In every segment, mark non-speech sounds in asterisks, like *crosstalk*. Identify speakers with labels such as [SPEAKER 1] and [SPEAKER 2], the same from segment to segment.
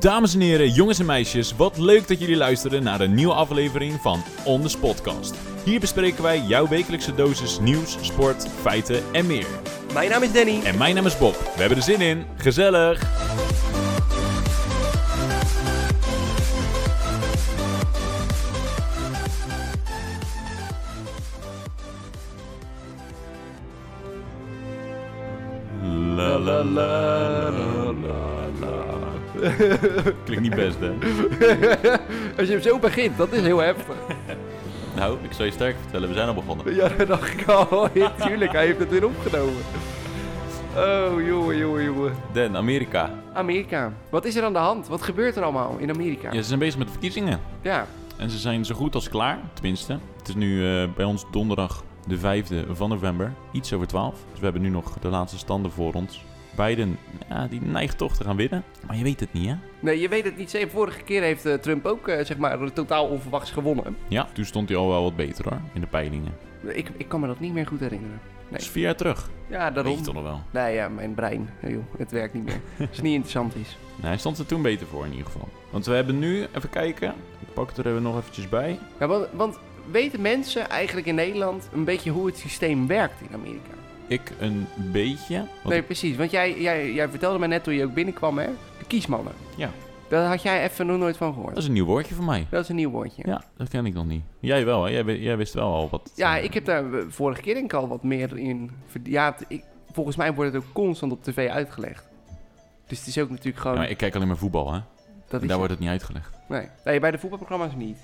[SPEAKER 1] Dames en heren, jongens en meisjes, wat leuk dat jullie luisteren naar een nieuwe aflevering van On The Spotcast. Hier bespreken wij jouw wekelijkse dosis nieuws, sport, feiten en meer.
[SPEAKER 2] Mijn naam is Danny.
[SPEAKER 1] En mijn naam is Bob. We hebben er zin in. Gezellig! La la la la la la. Klinkt niet best, hè?
[SPEAKER 2] Als je hem zo begint, dat is heel heftig.
[SPEAKER 3] Nou, ik zal je sterk vertellen, we zijn al begonnen.
[SPEAKER 2] Ja, dat dacht ik al. *laughs* Ja, tuurlijk, hij heeft het weer opgenomen. Oh, jongen, jongen, jongen.
[SPEAKER 3] Den, Amerika.
[SPEAKER 2] Amerika. Wat is er aan de hand? Wat gebeurt er allemaal in Amerika?
[SPEAKER 3] Ja, ze zijn bezig met de verkiezingen.
[SPEAKER 2] Ja,
[SPEAKER 3] En ze zijn zo goed als klaar, tenminste. Het is nu eh, bij ons donderdag de 5e van november, iets over 12. Dus we hebben nu nog de laatste standen voor ons. Biden, ja, die neigt toch te gaan winnen. Maar je weet het niet, hè?
[SPEAKER 2] nee, je weet het niet. Zeker vorige keer heeft eh, Trump ook, eh, zeg maar, totaal onverwachts gewonnen.
[SPEAKER 3] Ja, toen stond hij al wel wat beter, hoor, in de peilingen.
[SPEAKER 2] Ik, ik kan me dat niet meer goed herinneren.
[SPEAKER 3] Dat is vier jaar terug.
[SPEAKER 2] Ja,
[SPEAKER 3] Dat weet
[SPEAKER 2] daarom.
[SPEAKER 3] je toch nog wel.
[SPEAKER 2] Nee, ja, mijn brein. Eh, joh, het werkt niet meer. *laughs* Als het niet interessant is.
[SPEAKER 3] Nee, hij stond er toen beter voor, in ieder geval. Want we hebben nu, even kijken, ik pak het er even nog eventjes bij.
[SPEAKER 2] Ja, want, want weten mensen eigenlijk in Nederland een beetje hoe het systeem werkt in Amerika?
[SPEAKER 3] Ik een beetje. want
[SPEAKER 2] nee,
[SPEAKER 3] ik-
[SPEAKER 2] precies. Want jij, jij, jij vertelde me net toen je ook binnenkwam, hè? De kiesmannen.
[SPEAKER 3] Ja.
[SPEAKER 2] Daar had jij even nog nooit van
[SPEAKER 3] dat
[SPEAKER 2] gehoord.
[SPEAKER 3] is een nieuw woordje voor mij.
[SPEAKER 2] Dat is een nieuw woordje. Ja,
[SPEAKER 3] Ja, dat ken ik nog niet. Jij wel, hè? Jij, wi- jij wist wel al wat. eh,
[SPEAKER 2] ik heb daar eh, vorige keer denk ik al wat meer in... verd- Ja, het- ik, volgens mij wordt het ook constant op tv uitgelegd. Dus het is ook natuurlijk gewoon...
[SPEAKER 3] maar ik kijk alleen maar voetbal, hè?
[SPEAKER 2] dat
[SPEAKER 3] En
[SPEAKER 2] is
[SPEAKER 3] daar
[SPEAKER 2] het.
[SPEAKER 3] wordt het niet uitgelegd.
[SPEAKER 2] nee. nee, bij de voetbalprogramma's niet.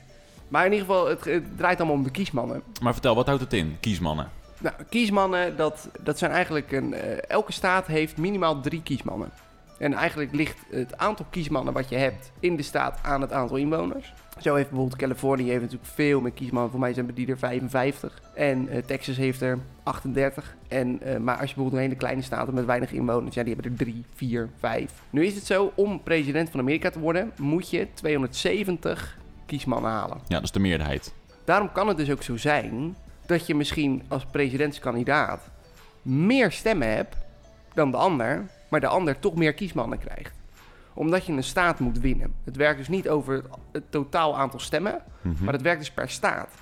[SPEAKER 2] Maar in ieder geval, het, het draait allemaal om de kiesmannen.
[SPEAKER 3] Maar vertel, wat houdt het in? Kiesmannen.
[SPEAKER 2] Nou, kiesmannen, dat, dat zijn eigenlijk een... eh, elke staat heeft minimaal drie kiesmannen. En eigenlijk ligt het aantal kiesmannen wat je hebt in de staat aan het aantal inwoners. Zo heeft bijvoorbeeld Californië heeft natuurlijk veel meer kiesmannen. Voor mij zijn die er 55. En eh, Texas heeft er 38. En, eh, maar als je bijvoorbeeld een hele kleine staat hebt met weinig inwoners, ja, die hebben er 3, 4, 5. Nu is het zo, om president van Amerika te worden, moet je 270 kiesmannen halen.
[SPEAKER 3] Ja, dat is de meerderheid.
[SPEAKER 2] Daarom kan het dus ook zo zijn dat je misschien als presidentskandidaat meer stemmen hebt dan de ander, maar de ander toch meer kiesmannen krijgt. Omdat je een staat moet winnen. Het werkt dus niet over het totaal aantal stemmen,
[SPEAKER 3] Mhm.
[SPEAKER 2] maar het werkt dus per staat.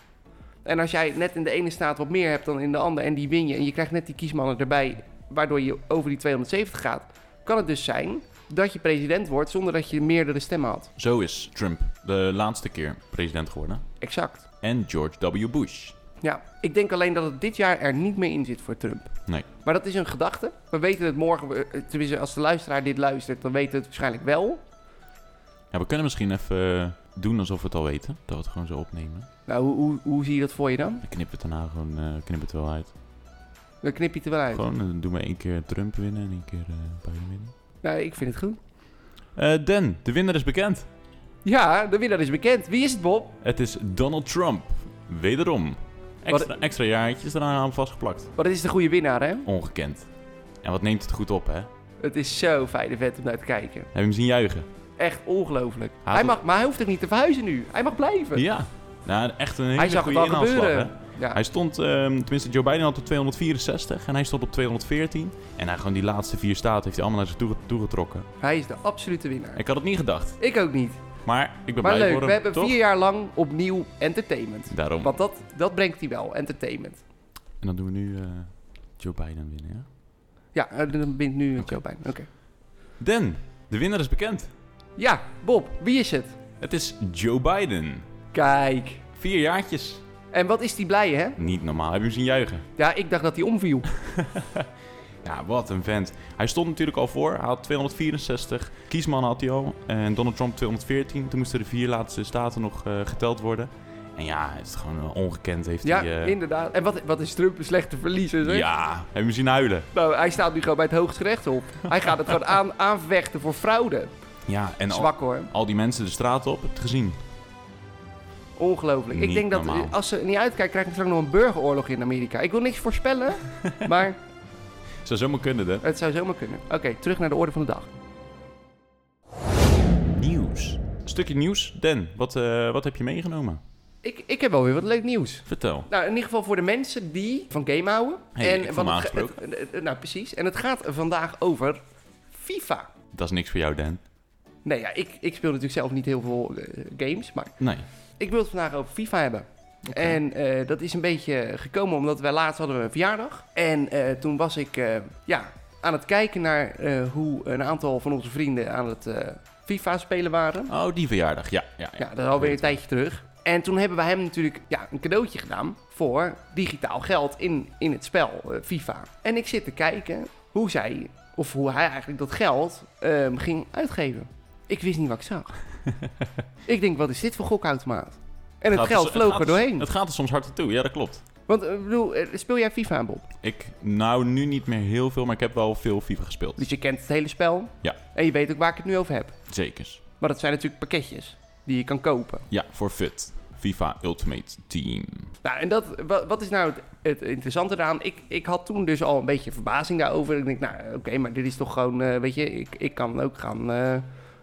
[SPEAKER 2] En als jij net in de ene staat wat meer hebt dan in de andere en die win je en je krijgt net die kiesmannen erbij, waardoor je over die 270 gaat, kan het dus zijn dat je president wordt zonder dat je meerdere stemmen had.
[SPEAKER 3] Zo is Trump de laatste keer president geworden.
[SPEAKER 2] Exact.
[SPEAKER 3] En George W. Bush.
[SPEAKER 2] Ja, ik denk alleen dat het dit jaar er niet meer in zit voor Trump.
[SPEAKER 3] Nee.
[SPEAKER 2] Maar dat is een gedachte. We weten het morgen, we- eh, tenminste als de luisteraar dit luistert, dan weten we het waarschijnlijk wel.
[SPEAKER 3] Ja, we kunnen misschien even eh, doen alsof we het al weten. Dat we het gewoon zo opnemen.
[SPEAKER 2] Nou, hoe, hoe, hoe zie je dat voor je dan?
[SPEAKER 3] Dan knippen we het daarna gewoon eh knippen we het wel uit.
[SPEAKER 2] Dan knip je het er wel uit.
[SPEAKER 3] Gewoon eh, doen we één keer Trump winnen en één keer eh Biden winnen.
[SPEAKER 2] Nou, ik vind het goed.
[SPEAKER 3] Eh Dan, de winnaar is bekend.
[SPEAKER 2] Ja, de winnaar is bekend. Wie is het, Bob?
[SPEAKER 3] Het is Donald Trump. Wederom. Extra, extra jaartjes eraan vastgeplakt.
[SPEAKER 2] Maar dat is de goede winnaar, hè?
[SPEAKER 3] Ongekend. En wat neemt het goed op, hè?
[SPEAKER 2] Het is zo fijn en vet om naar te kijken.
[SPEAKER 3] Heb je hem zien juichen?
[SPEAKER 2] Echt ongelooflijk.
[SPEAKER 3] Hij
[SPEAKER 2] Hij
[SPEAKER 3] had-
[SPEAKER 2] mag, maar hij hoeft ook niet te verhuizen nu. Hij mag blijven.
[SPEAKER 3] Ja. Nou, echt een hele
[SPEAKER 2] Hij zag het
[SPEAKER 3] goede
[SPEAKER 2] al
[SPEAKER 3] inhaalslag,
[SPEAKER 2] gebeuren.
[SPEAKER 3] hè?
[SPEAKER 2] Ja.
[SPEAKER 3] Hij stond, ehm, tenminste Joe Biden had op 264 en hij stond op 214. En hij gewoon die laatste vier staten heeft hij allemaal naar zich toe, toegetrokken.
[SPEAKER 2] Hij is de absolute winnaar.
[SPEAKER 3] Ik had het niet gedacht,
[SPEAKER 2] Ik ook niet.
[SPEAKER 3] maar ik ben
[SPEAKER 2] Maar
[SPEAKER 3] blij
[SPEAKER 2] leuk,
[SPEAKER 3] voor
[SPEAKER 2] we
[SPEAKER 3] hem,
[SPEAKER 2] hebben
[SPEAKER 3] toch?
[SPEAKER 2] vier jaar lang opnieuw entertainment.
[SPEAKER 3] Daarom.
[SPEAKER 2] Want dat, dat brengt hij wel, entertainment.
[SPEAKER 3] En dan doen we nu eh, Joe Biden winnen, ja?
[SPEAKER 2] Ja, eh, dan bindt nu het
[SPEAKER 3] Oké.
[SPEAKER 2] Joe Biden. Oké.
[SPEAKER 3] Dan, de winnaar is bekend.
[SPEAKER 2] Ja, Bob, wie is het?
[SPEAKER 3] Het is Joe Biden.
[SPEAKER 2] Kijk.
[SPEAKER 3] Vier jaartjes.
[SPEAKER 2] En wat is die blij, hè?
[SPEAKER 3] Niet normaal, heb je hem zien juichen?
[SPEAKER 2] Ja, ik dacht dat hij
[SPEAKER 3] *laughs*
[SPEAKER 2] omviel.
[SPEAKER 3] Ja, wat een vent. Hij stond natuurlijk al voor. Hij had 264. Kiesman had hij al. En Donald Trump 214. Toen moesten de vier laatste staten nog eh, geteld worden. En ja, het is gewoon eh, ongekend heeft
[SPEAKER 2] ja,
[SPEAKER 3] hij... eh,
[SPEAKER 2] inderdaad. En wat, wat is Trump een slechte verliezer, zeg?
[SPEAKER 3] ja, heb je hem zien huilen.
[SPEAKER 2] Nou, hij staat nu gewoon bij het hooggerechtshof. Hij gaat het gewoon aan, aanvechten voor fraude.
[SPEAKER 3] Ja, en al,
[SPEAKER 2] Zwak hoor.
[SPEAKER 3] al die mensen de straat op, heb je het gezien.
[SPEAKER 2] Ongelooflijk. Ik
[SPEAKER 3] Niet
[SPEAKER 2] denk dat
[SPEAKER 3] normaal.
[SPEAKER 2] eh, als ze niet uitkijken, krijgen we straks nog een burgeroorlog in Amerika. Ik wil niks
[SPEAKER 3] *laughs*
[SPEAKER 2] voorspellen, maar
[SPEAKER 3] Zou zomaar kunnen, hè?
[SPEAKER 2] het zou zomaar kunnen. Oké, terug naar de orde van de dag.
[SPEAKER 3] Nieuws. Stukje nieuws. Dan, wat, eh, wat heb je meegenomen?
[SPEAKER 2] Ik, ik heb wel weer wat leuk nieuws.
[SPEAKER 3] Vertel.
[SPEAKER 2] Nou, in ieder geval voor de mensen die van game houden.
[SPEAKER 3] Hey, ik voel
[SPEAKER 2] want
[SPEAKER 3] me
[SPEAKER 2] het ge-
[SPEAKER 3] aangesproken.
[SPEAKER 2] het- het- nou, precies. En het gaat vandaag over FIFA.
[SPEAKER 3] Dat is niks voor jou, Dan.
[SPEAKER 2] Nee, ja, ik, ik speel natuurlijk zelf niet heel veel eh, games, maar
[SPEAKER 3] Nee.
[SPEAKER 2] ik wil het vandaag over FIFA hebben. En eh, dat is een beetje gekomen omdat wij laatst hadden we een verjaardag. En eh, toen was ik eh, ja, aan het kijken naar eh, hoe een aantal van onze vrienden aan het eh, FIFA spelen waren.
[SPEAKER 3] Oh, die verjaardag. Ja, ja, ja.
[SPEAKER 2] Ja, dat is alweer een tijdje terug. En toen hebben we hem natuurlijk ja, een cadeautje gedaan voor digitaal geld in, in het spel eh, FIFA. En ik zit te kijken hoe zij, of hoe hij eigenlijk dat geld ehm, ging uitgeven. Ik wist niet wat ik
[SPEAKER 3] *laughs*
[SPEAKER 2] zag. ik denk, wat is dit voor gokautomaat? En het
[SPEAKER 3] Gaat
[SPEAKER 2] geld
[SPEAKER 3] dus-
[SPEAKER 2] vloog
[SPEAKER 3] gaat
[SPEAKER 2] er
[SPEAKER 3] dus-
[SPEAKER 2] doorheen.
[SPEAKER 3] Het gaat er soms hard aan toe. Ja, dat klopt.
[SPEAKER 2] Want eh, ik bedoel, eh, speel jij FIFA, Bob?
[SPEAKER 3] Ik, nou, nu niet meer heel veel, maar ik heb wel veel FIFA gespeeld.
[SPEAKER 2] Dus je kent het hele spel.
[SPEAKER 3] Ja.
[SPEAKER 2] En je weet ook waar ik het nu over heb.
[SPEAKER 3] Zekers.
[SPEAKER 2] Maar dat zijn natuurlijk pakketjes die je kan kopen.
[SPEAKER 3] Ja, voor FUT. FIFA Ultimate Team.
[SPEAKER 2] Nou, en dat, wa- wat is nou het, het interessante eraan? Ik, ik had toen dus al een beetje verbazing daarover. Ik denk, nou oké, maar dit is toch gewoon, eh, weet je, ik, ik kan ook gaan eh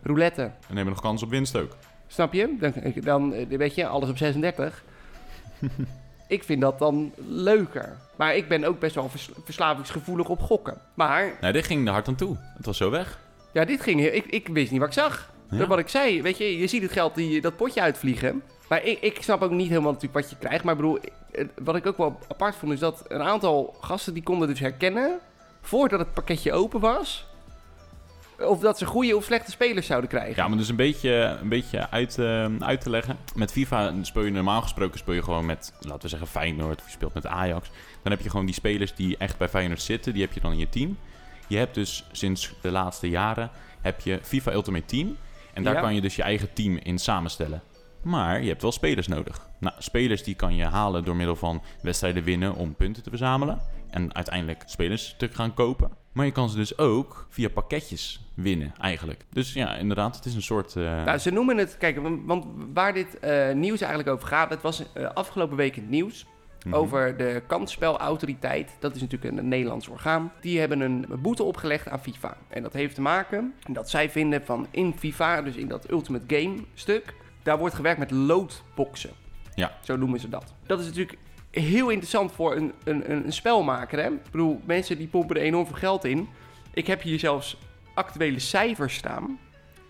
[SPEAKER 2] rouletten.
[SPEAKER 3] En hebben we nog kans op winst ook.
[SPEAKER 2] Snap je? Dan, dan eh, weet je, alles op 36. ik vind dat dan leuker. Maar ik ben ook best wel vers- verslavingsgevoelig op gokken. Maar
[SPEAKER 3] Nee, dit ging er hard aan toe. Het was zo weg.
[SPEAKER 2] ja, dit ging heel... Ik, ik wist niet wat ik zag.
[SPEAKER 3] Ja.
[SPEAKER 2] Dat Wat ik zei, weet je, je ziet het geld die dat potje uitvliegen. Maar ik, ik snap ook niet helemaal natuurlijk wat je krijgt. Maar ik bedoel, eh, wat ik ook wel apart vond, is dat een aantal gasten die konden dus herkennen... voordat het pakketje open was... of dat ze goede of slechte spelers zouden krijgen.
[SPEAKER 3] Ja, maar dus een beetje, een beetje uit, eh, uit te leggen. Met FIFA speel je normaal gesproken speel je gewoon met, laten we zeggen, Feyenoord. Of je speelt met Ajax. Dan heb je gewoon die spelers die echt bij Feyenoord zitten. Die heb je dan in je team. Je hebt dus sinds de laatste jaren heb je FIFA Ultimate Team. En daar
[SPEAKER 2] Ja.
[SPEAKER 3] kan je dus je eigen team in samenstellen. Maar je hebt wel spelers nodig. Nou, spelers die kan je halen door middel van wedstrijden winnen om punten te verzamelen. En uiteindelijk spelers te gaan kopen. Maar je kan ze dus ook via pakketjes winnen, eigenlijk. Dus ja, inderdaad, het is een soort. eh,
[SPEAKER 2] Nou, ze noemen het, kijk, want- want waar dit eh, nieuws eigenlijk over gaat, dat was eh, afgelopen week het nieuws
[SPEAKER 3] mhm.
[SPEAKER 2] over de kansspelautoriteit. Dat is natuurlijk een, een Nederlands orgaan. Die hebben een boete opgelegd aan FIFA. En dat heeft te maken dat zij vinden van in FIFA, dus in dat Ultimate Game stuk, daar wordt gewerkt met loodboxen.
[SPEAKER 3] Ja.
[SPEAKER 2] Zo noemen ze dat. Dat is natuurlijk heel interessant voor een, een, een een spelmaker. Hè? Ik bedoel, mensen die pompen er enorm veel geld in. Ik heb hier zelfs actuele cijfers staan.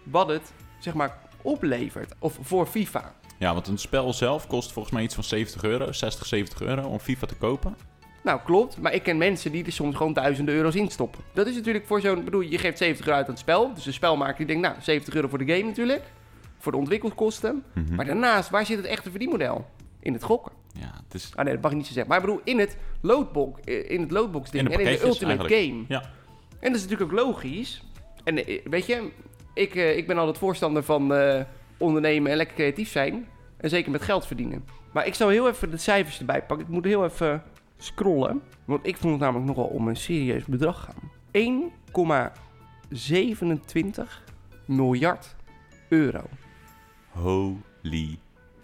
[SPEAKER 2] Wat het, zeg maar, oplevert. Of voor FIFA.
[SPEAKER 3] Ja, want een spel zelf kost volgens mij iets van 70 euro, 60, 70 euro om FIFA te kopen.
[SPEAKER 2] Nou, klopt. Maar ik ken mensen die er soms gewoon duizenden euro's in stoppen. Dat is natuurlijk voor zo'n... bedoel, je geeft 70 euro uit aan het spel. Dus de spelmaker die denkt, nou, 70 euro voor de game natuurlijk. Voor de ontwikkelkosten.
[SPEAKER 3] Mhm.
[SPEAKER 2] Maar daarnaast, waar zit het echte verdienmodel? In het gokken.
[SPEAKER 3] Ja, het is.
[SPEAKER 2] Ah nee, dat mag ik niet zo zeggen. Maar ik bedoel, in het loadbox, eh, in het loadbox ding.
[SPEAKER 3] In de
[SPEAKER 2] en in de
[SPEAKER 3] pakketjes
[SPEAKER 2] ultimate
[SPEAKER 3] eigenlijk.
[SPEAKER 2] game.
[SPEAKER 3] Ja.
[SPEAKER 2] En dat is natuurlijk ook logisch. En eh, weet je, ik, eh, ik ben altijd voorstander van eh, ondernemen en lekker creatief zijn. En zeker met geld verdienen. Maar ik zal heel even de cijfers erbij pakken. Ik moet heel even scrollen. Want ik vond het namelijk nogal om een serieus bedrag gaan. 1,27 miljard euro.
[SPEAKER 3] Holy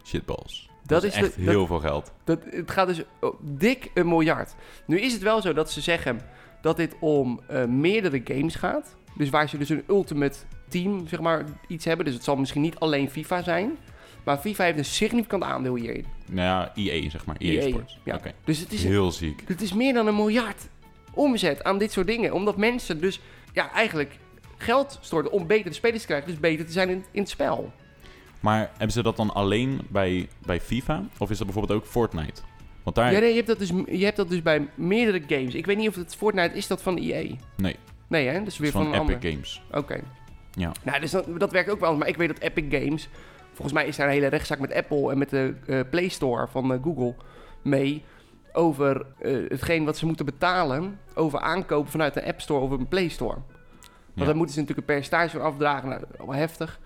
[SPEAKER 3] shitballs. Dat,
[SPEAKER 2] Dat
[SPEAKER 3] is
[SPEAKER 2] is de-
[SPEAKER 3] echt
[SPEAKER 2] dat-
[SPEAKER 3] heel veel geld.
[SPEAKER 2] Dat, het gaat dus oh, dik een miljard. Nu is het wel zo dat ze zeggen dat dit om eh, meerdere games gaat. Dus waar ze dus een ultimate team, zeg maar, iets hebben. Dus het zal misschien niet alleen FIFA zijn. Maar FIFA heeft een significant aandeel hierin.
[SPEAKER 3] Nou ja, EA zeg maar. EA,
[SPEAKER 2] EA,
[SPEAKER 3] Sports.
[SPEAKER 2] ja.
[SPEAKER 3] Oké.
[SPEAKER 2] Dus het is,
[SPEAKER 3] Heel ziek.
[SPEAKER 2] het is meer dan een miljard omzet aan dit soort dingen. Omdat mensen dus ja, eigenlijk geld storten om betere spelers te krijgen. Dus beter te zijn in, in het spel.
[SPEAKER 3] Maar hebben ze dat dan alleen bij, bij FIFA? Of is dat bijvoorbeeld ook Fortnite? Want daar...
[SPEAKER 2] Ja, nee, je, hebt dat dus, je hebt dat dus bij meerdere games. Ik weet niet of het Fortnite is dat van EA.
[SPEAKER 3] Nee.
[SPEAKER 2] Nee, hè? Dat is
[SPEAKER 3] het
[SPEAKER 2] weer
[SPEAKER 3] is
[SPEAKER 2] van,
[SPEAKER 3] van
[SPEAKER 2] een ander.
[SPEAKER 3] Epic Games.
[SPEAKER 2] Oké.
[SPEAKER 3] Ja.
[SPEAKER 2] Nou, dus dat, dat werkt ook wel. Maar ik weet dat Epic Games... Volgens mij is daar een hele rechtszaak met Apple en met de eh, Play Store van eh, Google mee... over eh, hetgeen wat ze moeten betalen over aankopen vanuit een App Store of een Play Store. Want
[SPEAKER 3] Ja.
[SPEAKER 2] daar moeten ze natuurlijk een percentage voor afdragen. Nou, wel heftig.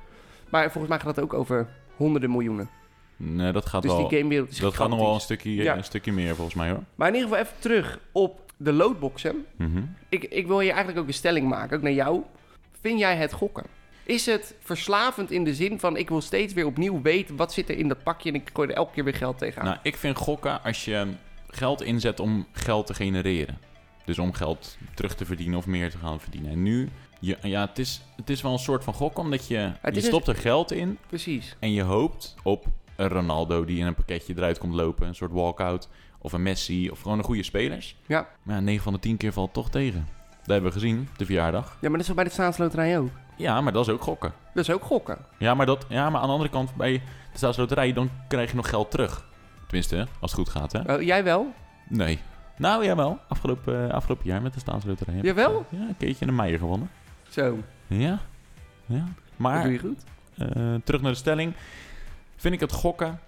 [SPEAKER 2] Maar volgens mij gaat dat ook over honderden miljoenen.
[SPEAKER 3] Nee, dat gaat
[SPEAKER 2] dus
[SPEAKER 3] wel...
[SPEAKER 2] die gamewereld is
[SPEAKER 3] Dat gaat nog wel een
[SPEAKER 2] gigantisch.
[SPEAKER 3] stukje,
[SPEAKER 2] Ja.
[SPEAKER 3] een stukje meer volgens mij hoor.
[SPEAKER 2] Maar in ieder geval even terug op de loadboxen.
[SPEAKER 3] Mhm.
[SPEAKER 2] Ik, ik wil hier eigenlijk ook een stelling maken, ook naar jou. Vind jij het gokken? Is het verslavend in de zin van ik wil steeds weer opnieuw weten wat zit er in dat pakje en ik gooi er elke keer weer geld tegenaan?
[SPEAKER 3] Nou, ik vind gokken als je geld inzet om geld te genereren. Dus om geld terug te verdienen of meer te gaan verdienen. En nu, je, ja, het is, het is wel een soort van gokken omdat je,
[SPEAKER 2] Het
[SPEAKER 3] je
[SPEAKER 2] is een-
[SPEAKER 3] stopt er geld in
[SPEAKER 2] Precies.
[SPEAKER 3] en je hoopt op een Ronaldo die in een pakketje eruit komt lopen. Een soort walkout of een Messi of gewoon een goede spelers.
[SPEAKER 2] Ja.
[SPEAKER 3] Maar ja, 9 van de 10 keer valt het toch tegen. Dat hebben we gezien, op de verjaardag.
[SPEAKER 2] Ja, maar dat is toch bij de staatsloterij ook?
[SPEAKER 3] Ja, maar dat is ook gokken.
[SPEAKER 2] Dat is ook gokken.
[SPEAKER 3] Ja, maar, dat, ja, maar aan de andere kant, bij de staatsloterij, dan krijg je nog geld terug. Tenminste, hè, als het goed gaat, hè?
[SPEAKER 2] Eh, jij wel?
[SPEAKER 3] Nee. Nou, jawel. Afgelopen, eh, afgelopen jaar met de staatsloterij. heb ik,
[SPEAKER 2] Jawel?
[SPEAKER 3] eh, Ja, een keertje een meijer gewonnen.
[SPEAKER 2] Zo,
[SPEAKER 3] Ja. Ja.
[SPEAKER 2] dat
[SPEAKER 3] Maar
[SPEAKER 2] doe je goed.
[SPEAKER 3] Eh, terug naar de stelling. Vind ik het gokken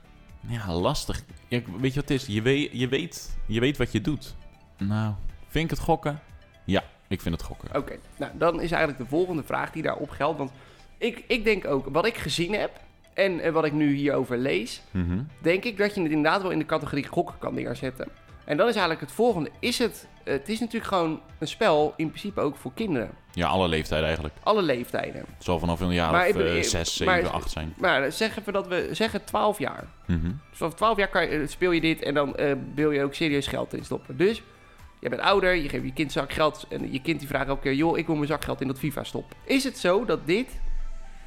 [SPEAKER 3] ja, lastig. Ja, ik- weet je wat het is? Je weet, je, weet, je weet wat je doet. Nou, vind ik het gokken? Ja, ik vind het gokken.
[SPEAKER 2] Oké, nou dan is eigenlijk de volgende vraag die daarop geldt. Want ik, ik denk ook, wat ik gezien heb en eh, wat ik nu hierover lees,
[SPEAKER 3] Mhm.
[SPEAKER 2] denk ik dat je het inderdaad wel in de categorie gokken kan neerzetten. En dan is eigenlijk het volgende. Is het, het is natuurlijk gewoon een spel in principe ook voor kinderen.
[SPEAKER 3] Ja, alle leeftijden eigenlijk.
[SPEAKER 2] Alle leeftijden.
[SPEAKER 3] Het zal vanaf een jaar
[SPEAKER 2] Maar
[SPEAKER 3] of
[SPEAKER 2] ik bedoel,
[SPEAKER 3] eh,
[SPEAKER 2] ik-
[SPEAKER 3] zes,
[SPEAKER 2] maar-
[SPEAKER 3] zeven, acht zijn.
[SPEAKER 2] Maar eh, zeggen we dat we zeggen 12 jaar.
[SPEAKER 3] Mhm.
[SPEAKER 2] Dus vanaf 12 jaar kan je, eh, speel je dit en dan eh, wil je ook serieus geld in stoppen. Dus je bent ouder, je geeft je kind zak geld en je kind die vraagt elke keer... joh, ik wil mijn zakgeld in dat FIFA stoppen. Is het zo dat dit,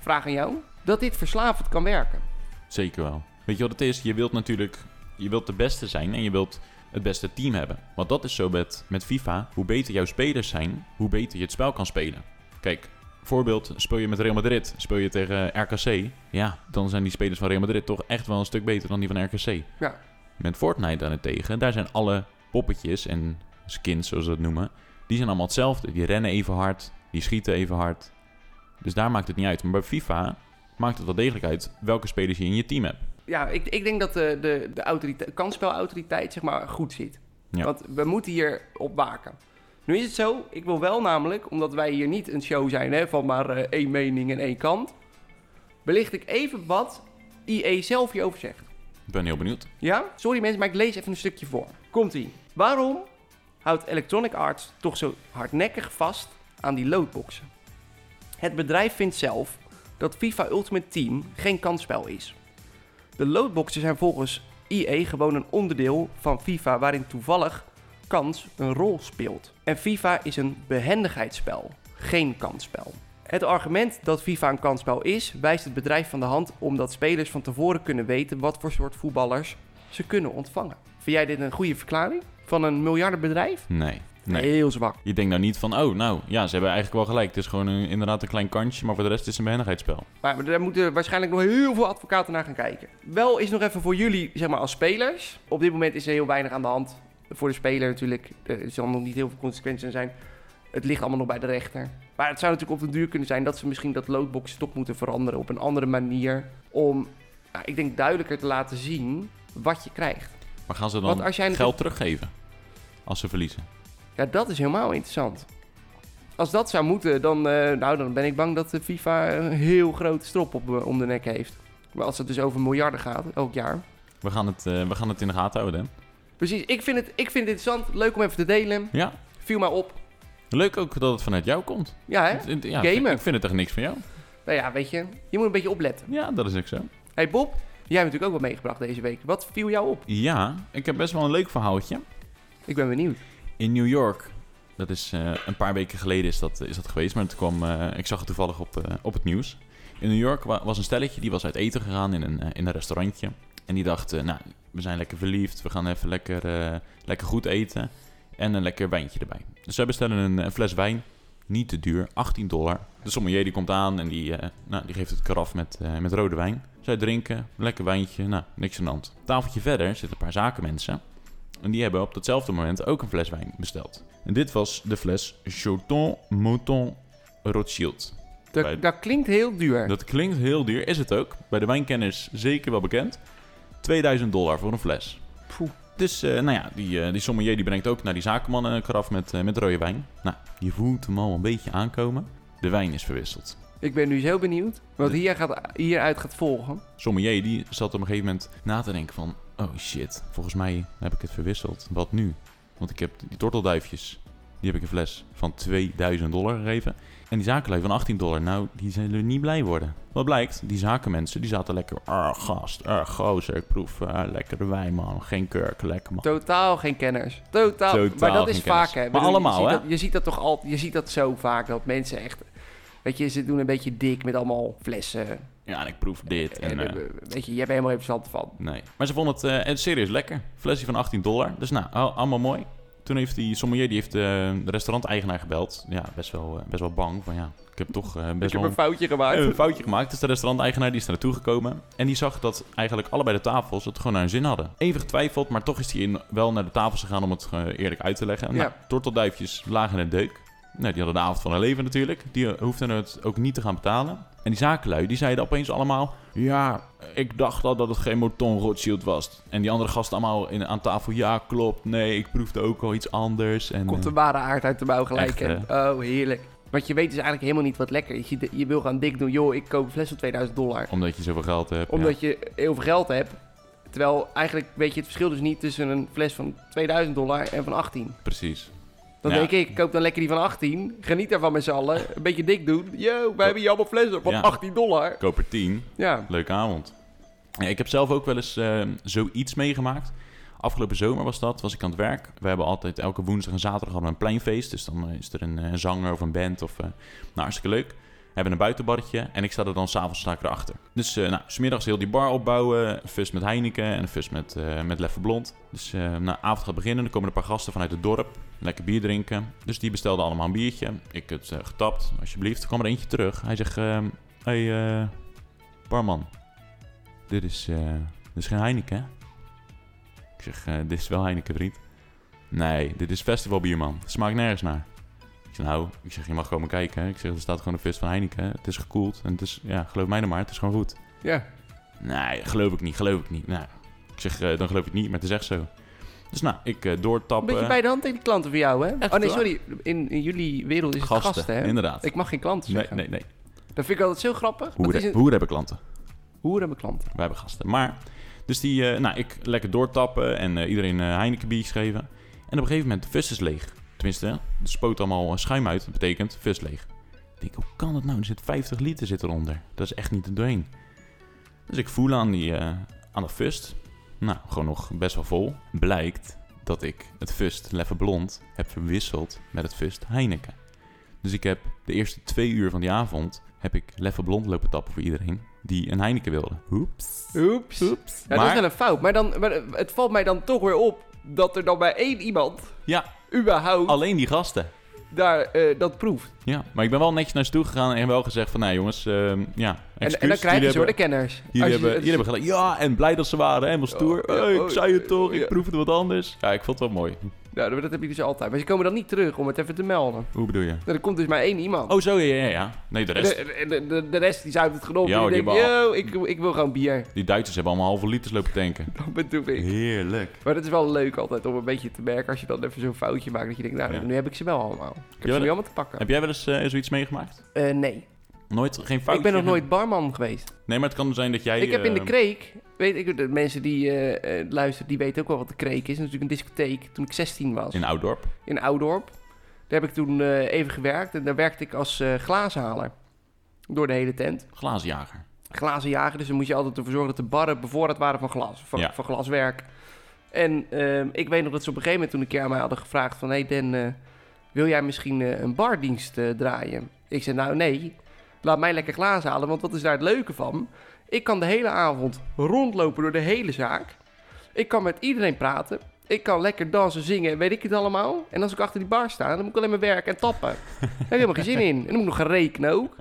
[SPEAKER 2] vraag aan jou, dat dit verslavend kan werken?
[SPEAKER 3] Zeker wel. Weet je wat het is? Je wilt natuurlijk je wilt de beste zijn en je wilt het beste team hebben. Want dat is zo met, met FIFA. Hoe beter jouw spelers zijn, hoe beter je het spel kan spelen. Kijk, voorbeeld, speel je met Real Madrid, speel je tegen eh, RKC. Ja, dan zijn die spelers van Real Madrid toch echt wel een stuk beter dan die van RKC.
[SPEAKER 2] Ja.
[SPEAKER 3] Met Fortnite daarentegen, daar zijn alle poppetjes en skins, zoals ze dat noemen, die zijn allemaal hetzelfde. Die rennen even hard, die schieten even hard. Dus daar maakt het niet uit. Maar bij FIFA maakt het wel degelijk uit welke spelers je in je team hebt.
[SPEAKER 2] Ja, ik, ik denk dat de, de, de autorite- kansspelautoriteit zeg maar, goed zit.
[SPEAKER 3] Ja.
[SPEAKER 2] Want we moeten hier op waken. Nu is het zo, ik wil wel namelijk, omdat wij hier niet een show zijn hè, van maar eh, één mening en één kant... belicht ik even wat IE zelf hierover zegt.
[SPEAKER 3] Ik ben heel benieuwd.
[SPEAKER 2] Ja? Sorry mensen, maar ik lees even een stukje voor. Komt-ie. Waarom houdt Electronic Arts toch zo hardnekkig vast aan die loadboxen? Het bedrijf vindt zelf dat FIFA Ultimate Team geen kansspel is. De loadboxen zijn volgens EA gewoon een onderdeel van FIFA waarin toevallig kans een rol speelt. En FIFA is een behendigheidsspel, geen kansspel. Het argument dat FIFA een kansspel is, wijst het bedrijf van de hand omdat spelers van tevoren kunnen weten wat voor soort voetballers ze kunnen ontvangen. Vind jij dit een goede verklaring van een miljardenbedrijf?
[SPEAKER 3] Nee. nee.
[SPEAKER 2] Heel zwak.
[SPEAKER 3] Je denkt nou niet van, oh, nou, ja, ze hebben eigenlijk wel gelijk. Het is gewoon een, inderdaad een klein kantje, maar voor de rest is het een behendigheidsspel.
[SPEAKER 2] Maar daar moeten waarschijnlijk nog heel veel advocaten naar gaan kijken. Wel is nog even voor jullie, zeg maar als spelers. Op dit moment is er heel weinig aan de hand. Voor de speler natuurlijk. Eh, Er zal nog niet heel veel consequenties aan zijn. Het ligt allemaal nog bij de rechter. Maar het zou natuurlijk op den duur kunnen zijn dat ze misschien dat loadbox toch moeten veranderen op een andere manier. Om, nou, ik denk, duidelijker te laten zien wat je krijgt.
[SPEAKER 3] Maar gaan ze
[SPEAKER 2] Want
[SPEAKER 3] dan
[SPEAKER 2] als jij
[SPEAKER 3] geld teruggeven als ze verliezen?
[SPEAKER 2] Ja, dat is helemaal interessant. Als dat zou moeten, dan, eh, nou, dan ben ik bang dat de FIFA een heel grote strop op, eh, om de nek heeft. Maar als het dus over miljarden gaat, elk jaar.
[SPEAKER 3] We gaan het, eh, we gaan het in de gaten houden, hè?
[SPEAKER 2] Precies, ik vind, het, ik vind het interessant. Leuk om even te delen.
[SPEAKER 3] Ja.
[SPEAKER 2] Viel mij op.
[SPEAKER 3] Leuk ook dat het vanuit jou komt.
[SPEAKER 2] Ja, hè?
[SPEAKER 3] Het- het- Ja,
[SPEAKER 2] Gamen.
[SPEAKER 3] ik vind- Ik vind het echt niks van jou.
[SPEAKER 2] Nou ja, weet je, je moet een beetje opletten.
[SPEAKER 3] Ja, dat is ook zo.
[SPEAKER 2] hey Bob, jij hebt natuurlijk ook wat meegebracht deze week. Wat viel jou op?
[SPEAKER 3] Ja, ik heb best wel een leuk verhaaltje.
[SPEAKER 2] Ik ben benieuwd.
[SPEAKER 3] In New York, dat is eh, een paar weken geleden is dat, is dat geweest, maar het kwam, eh, ik zag het toevallig op, eh, op het nieuws. In New York wa- was een stelletje, die was uit eten gegaan in een, eh, in een restaurantje. En die dacht, eh, nou, we zijn lekker verliefd, we gaan even lekker, eh, lekker goed eten en een lekker wijntje erbij. Dus zij bestellen een, eh, fles wijn, niet te duur, 18 dollar. De sommelier die komt aan en die, eh, nou, die geeft het karaf met, eh, met rode wijn. Zij drinken, lekker wijntje, nou, niks aan de hand. Tafeltje verder zitten een paar zakenmensen. En die hebben op datzelfde moment ook een fles wijn besteld. En dit was de fles Choton Mouton Rothschild.
[SPEAKER 2] Dat,
[SPEAKER 3] Bij-
[SPEAKER 2] dat klinkt heel duur.
[SPEAKER 3] Dat klinkt heel duur, is het ook. Bij de wijnkenners zeker wel bekend. 2000 dollar voor een fles.
[SPEAKER 2] Poeh.
[SPEAKER 3] Dus eh, nou ja, die, eh, die sommelier die brengt ook naar die zakenman een karaf met, eh, met rode wijn. Nou, je voelt hem al een beetje aankomen. De wijn is verwisseld.
[SPEAKER 2] Ik ben nu zo benieuwd wat
[SPEAKER 3] De-
[SPEAKER 2] hier gaat, hieruit gaat volgen.
[SPEAKER 3] Sommelier die zat op een gegeven moment na te denken van... Oh shit, volgens mij heb ik het verwisseld. Wat nu? Want ik heb die tortelduifjes, die heb ik een fles van 2000 dollar gegeven. En die zakenlui van 18 dollar, nou, die zullen niet blij worden. Wat blijkt, die zakenmensen, die zaten lekker... Ah, gast, ah, gozer, ik proef eh, lekkere wijn, man. Geen kurk, lekker, man.
[SPEAKER 2] Totaal geen kenners. Totaal.
[SPEAKER 3] Totaal
[SPEAKER 2] maar dat
[SPEAKER 3] geen
[SPEAKER 2] is
[SPEAKER 3] kenners.
[SPEAKER 2] vaak, hè. Ik
[SPEAKER 3] Maar
[SPEAKER 2] bedoel,
[SPEAKER 3] allemaal,
[SPEAKER 2] je
[SPEAKER 3] hè?
[SPEAKER 2] ziet Dat, je ziet dat toch altijd. Je ziet dat zo vaak, dat mensen echt... Weet je, ze doen een beetje dik met allemaal flessen.
[SPEAKER 3] Ja, en ik proef dit. En,
[SPEAKER 2] En,
[SPEAKER 3] eh,
[SPEAKER 2] eh, weet je, je hebt er helemaal geen verstand van.
[SPEAKER 3] Nee. Maar ze vonden het eh, serieus lekker. Flesje van 18 dollar. Dus nou, al- allemaal mooi. Toen heeft die sommelier, die heeft eh, de restauranteigenaar gebeld. Ja, best wel, eh, best wel bang. Van ja, ik heb toch eh,
[SPEAKER 2] Ik
[SPEAKER 3] best
[SPEAKER 2] heb
[SPEAKER 3] wel
[SPEAKER 2] een foutje gemaakt.
[SPEAKER 3] een foutje gemaakt. Dus de restauranteigenaar die is er naartoe gekomen. En die zag dat eigenlijk allebei de tafels het gewoon naar hun zin hadden. Even getwijfeld, maar toch is hij in- wel naar de tafels gegaan om het eh, eerlijk uit te leggen. Nou,
[SPEAKER 2] Ja.
[SPEAKER 3] tortelduifjes lagen in de deuk. Nou, die hadden de avond van hun leven natuurlijk. Die eh, hoefden het ook niet te gaan betalen. En die zakenlui, die zeiden opeens allemaal... Ja, ik dacht al dat het geen Moton Rothschild was. En die andere gasten allemaal in, aan tafel... Ja, klopt. Nee, ik proefde ook al iets anders. En,
[SPEAKER 2] Komt de
[SPEAKER 3] eh,
[SPEAKER 2] ware aard uit de mouw gelijk.
[SPEAKER 3] Echt,
[SPEAKER 2] hè? oh, heerlijk. Want je weet dus eigenlijk helemaal niet wat lekker is. Je, je wil gaan dik doen, joh, ik koop een fles van 2000 dollar.
[SPEAKER 3] eh, omdat je zoveel geld hebt. ja.
[SPEAKER 2] Omdat je heel veel geld hebt. Terwijl eigenlijk weet je het verschil dus niet tussen een fles van 2000 dollar en van 18.
[SPEAKER 3] Precies.
[SPEAKER 2] Dan
[SPEAKER 3] Ja.
[SPEAKER 2] denk ik, ik koop dan lekker die van 18. Geniet daarvan met z'n allen. Een beetje dik doen. Yo, wij hebben hier allemaal flessen van
[SPEAKER 3] Ja.
[SPEAKER 2] 18 dollar.
[SPEAKER 3] Koper 10.
[SPEAKER 2] Ja.
[SPEAKER 3] Leuke avond. Ja, ik heb zelf ook wel eens eh, zoiets meegemaakt. Afgelopen zomer was dat, was ik aan het werk. We hebben altijd elke woensdag en zaterdag hadden we een pleinfeest. Dus dan eh, is er een, eh, een zanger of een band of... eh, nou, hartstikke leuk. We hebben een buitenbarretje en ik sta er dan s'avonds sta ik erachter. Dus eh nou, smiddags heel die bar opbouwen. Een fus met Heineken en een fus met, eh met Leffe Blond. Dus eh nou, avond gaat beginnen. Dan komen er een paar gasten vanuit het dorp. Lekker bier drinken. Dus die bestelden allemaal een biertje. Ik het eh, getapt. Alsjeblieft. Er kwam er eentje terug. Hij zegt... ehm, hey, eh, barman. Dit is, eh, dit is geen Heineken, hè? Ik zeg, eh, dit is wel Heineken, vriend. Nee, dit is festivalbier, man. Het smaakt nergens naar. Ik zeg, nou, ik zeg, je mag komen kijken. hè. Ik zeg, er staat gewoon een fist van Heineken. Het is gekoeld en het is, ja, geloof mij dan maar, het is gewoon goed.
[SPEAKER 2] Ja.
[SPEAKER 3] Nee, geloof ik niet, geloof ik niet. Nou, ik zeg, eh, dan geloof ik het niet, maar het is echt zo. Dus nou, ik eh,
[SPEAKER 2] Een
[SPEAKER 3] doortappen.
[SPEAKER 2] beetje bij de hand tegen de klanten voor jou, hè?
[SPEAKER 3] Echt
[SPEAKER 2] oh nee,
[SPEAKER 3] waar?
[SPEAKER 2] sorry. In, in jullie wereld is het gasten,
[SPEAKER 3] gasten,
[SPEAKER 2] hè?
[SPEAKER 3] inderdaad.
[SPEAKER 2] Ik mag geen klanten
[SPEAKER 3] nee,
[SPEAKER 2] zeggen.
[SPEAKER 3] nee, nee.
[SPEAKER 2] Dat vind ik altijd zo grappig. Dat is
[SPEAKER 3] Hoeren,
[SPEAKER 2] een...
[SPEAKER 3] hoeren hebben klanten.
[SPEAKER 2] Hoeren mijn klanten.
[SPEAKER 3] Wij hebben gasten. Maar, dus die, eh, nou, ik lekker doortappen en eh, iedereen eh, Heineken biertjes geven. En op een gegeven moment, de fus is leeg. Tenminste, hè, er spoot allemaal eh, schuim uit. Dat betekent, fus leeg. Ik denk, hoe kan dat nou? Er zit 50 liter zit eronder. Dat is echt niet er doorheen. Dus ik voel aan, die, eh, aan dat fust. Nou, gewoon nog best wel vol. Blijkt dat ik het fust Leffe Blond heb verwisseld met het fust Heineken. Dus ik heb de eerste twee uur van die avond... heb ik Leffe Blond lopen tappen voor iedereen die een Heineken wilde. Oeps.
[SPEAKER 2] Oeps.
[SPEAKER 3] Oeps.
[SPEAKER 2] Ja, dat is
[SPEAKER 3] maar,
[SPEAKER 2] wel een fout. Maar, dan, maar eh, het valt mij dan toch weer op dat er dan bij één iemand
[SPEAKER 3] ja,
[SPEAKER 2] überhaupt
[SPEAKER 3] alleen die gasten.
[SPEAKER 2] daar, eh, dat proeft.
[SPEAKER 3] Ja, maar ik ben wel netjes naar ze toe gegaan en wel gezegd van... Nou jongens, ehm, ja,
[SPEAKER 2] En,
[SPEAKER 3] excuus.
[SPEAKER 2] en dan krijg je
[SPEAKER 3] jullie
[SPEAKER 2] zo de
[SPEAKER 3] hebben-
[SPEAKER 2] kenners.
[SPEAKER 3] Jullie
[SPEAKER 2] Als je-
[SPEAKER 3] hebben, jullie hebben gelijk. Ja, en blij dat ze waren. En wel stoer.
[SPEAKER 2] Oh, ja,
[SPEAKER 3] Hey,
[SPEAKER 2] oh,
[SPEAKER 3] ik zei het toch,
[SPEAKER 2] ja.
[SPEAKER 3] ik proefde wat anders. Ja, ik vond het wel mooi.
[SPEAKER 2] Nou, dat- dat heb je dus altijd. Maar ze komen dan niet terug om het even te melden.
[SPEAKER 3] Hoe bedoel je?
[SPEAKER 2] Nou, er komt dus maar één iemand.
[SPEAKER 3] Oh, zo, ja, ja, ja. Nee, de
[SPEAKER 2] de,
[SPEAKER 3] rest.
[SPEAKER 2] de, de, de- de rest die zuipt het gewoon op.
[SPEAKER 3] Ja,
[SPEAKER 2] en
[SPEAKER 3] hoor,
[SPEAKER 2] die
[SPEAKER 3] die
[SPEAKER 2] denkt, yo, ik, ik wil gewoon bier. *laughs*
[SPEAKER 3] Die Duitsers hebben allemaal halve liters lopen tanken.
[SPEAKER 2] Dat bedoel ik.
[SPEAKER 3] Heerlijk.
[SPEAKER 2] Maar dat is wel leuk altijd om een beetje te merken als je dan even zo'n foutje maakt. Dat je denkt, nou,
[SPEAKER 3] Ja.
[SPEAKER 2] nu heb ik ze wel allemaal. Ik heb
[SPEAKER 3] Ja,
[SPEAKER 2] ze
[SPEAKER 3] dat-
[SPEAKER 2] nu allemaal te pakken.
[SPEAKER 3] Heb jij wel eens eh, zoiets meegemaakt?
[SPEAKER 2] Eh, nee,
[SPEAKER 3] Nooit? Geen foutje?
[SPEAKER 2] ik ben nog nooit barman geweest.
[SPEAKER 3] Nee, maar het kan zijn dat jij...
[SPEAKER 2] Ik heb in de
[SPEAKER 3] eh,
[SPEAKER 2] Kreek, weet ik, de mensen die eh, eh, luisteren, die weten ook wel wat de Kreek is. Dat is natuurlijk een discotheek toen ik 16 was, in,
[SPEAKER 3] In Ouddorp.
[SPEAKER 2] Oudorp. Daar heb ik toen eh, even gewerkt en daar werkte ik als eh glazenhaler door de hele tent.
[SPEAKER 3] Glazenjager.
[SPEAKER 2] Glazenjager, dus dan moet je altijd ervoor zorgen dat de barren bevoorraad waren van glas, van,
[SPEAKER 3] Ja.
[SPEAKER 2] van glaswerk. En ehm, ik weet nog dat ze op een gegeven moment toen een keer aan mij hadden gevraagd van... ...hé hey Dan, eh, wil jij misschien eh, een bardienst eh, draaien? Ik zei nou nee, laat mij lekker glazen halen, want wat is daar het leuke van? Ik kan de hele avond rondlopen door de hele zaak. Ik kan met iedereen praten. Ik kan lekker dansen, zingen, weet ik het allemaal. En als ik achter die bar sta, dan moet ik alleen maar werken en
[SPEAKER 3] *laughs*
[SPEAKER 2] tappen. Daar heb ik helemaal geen zin in. En dan moet ik nog gaan rekenen ook.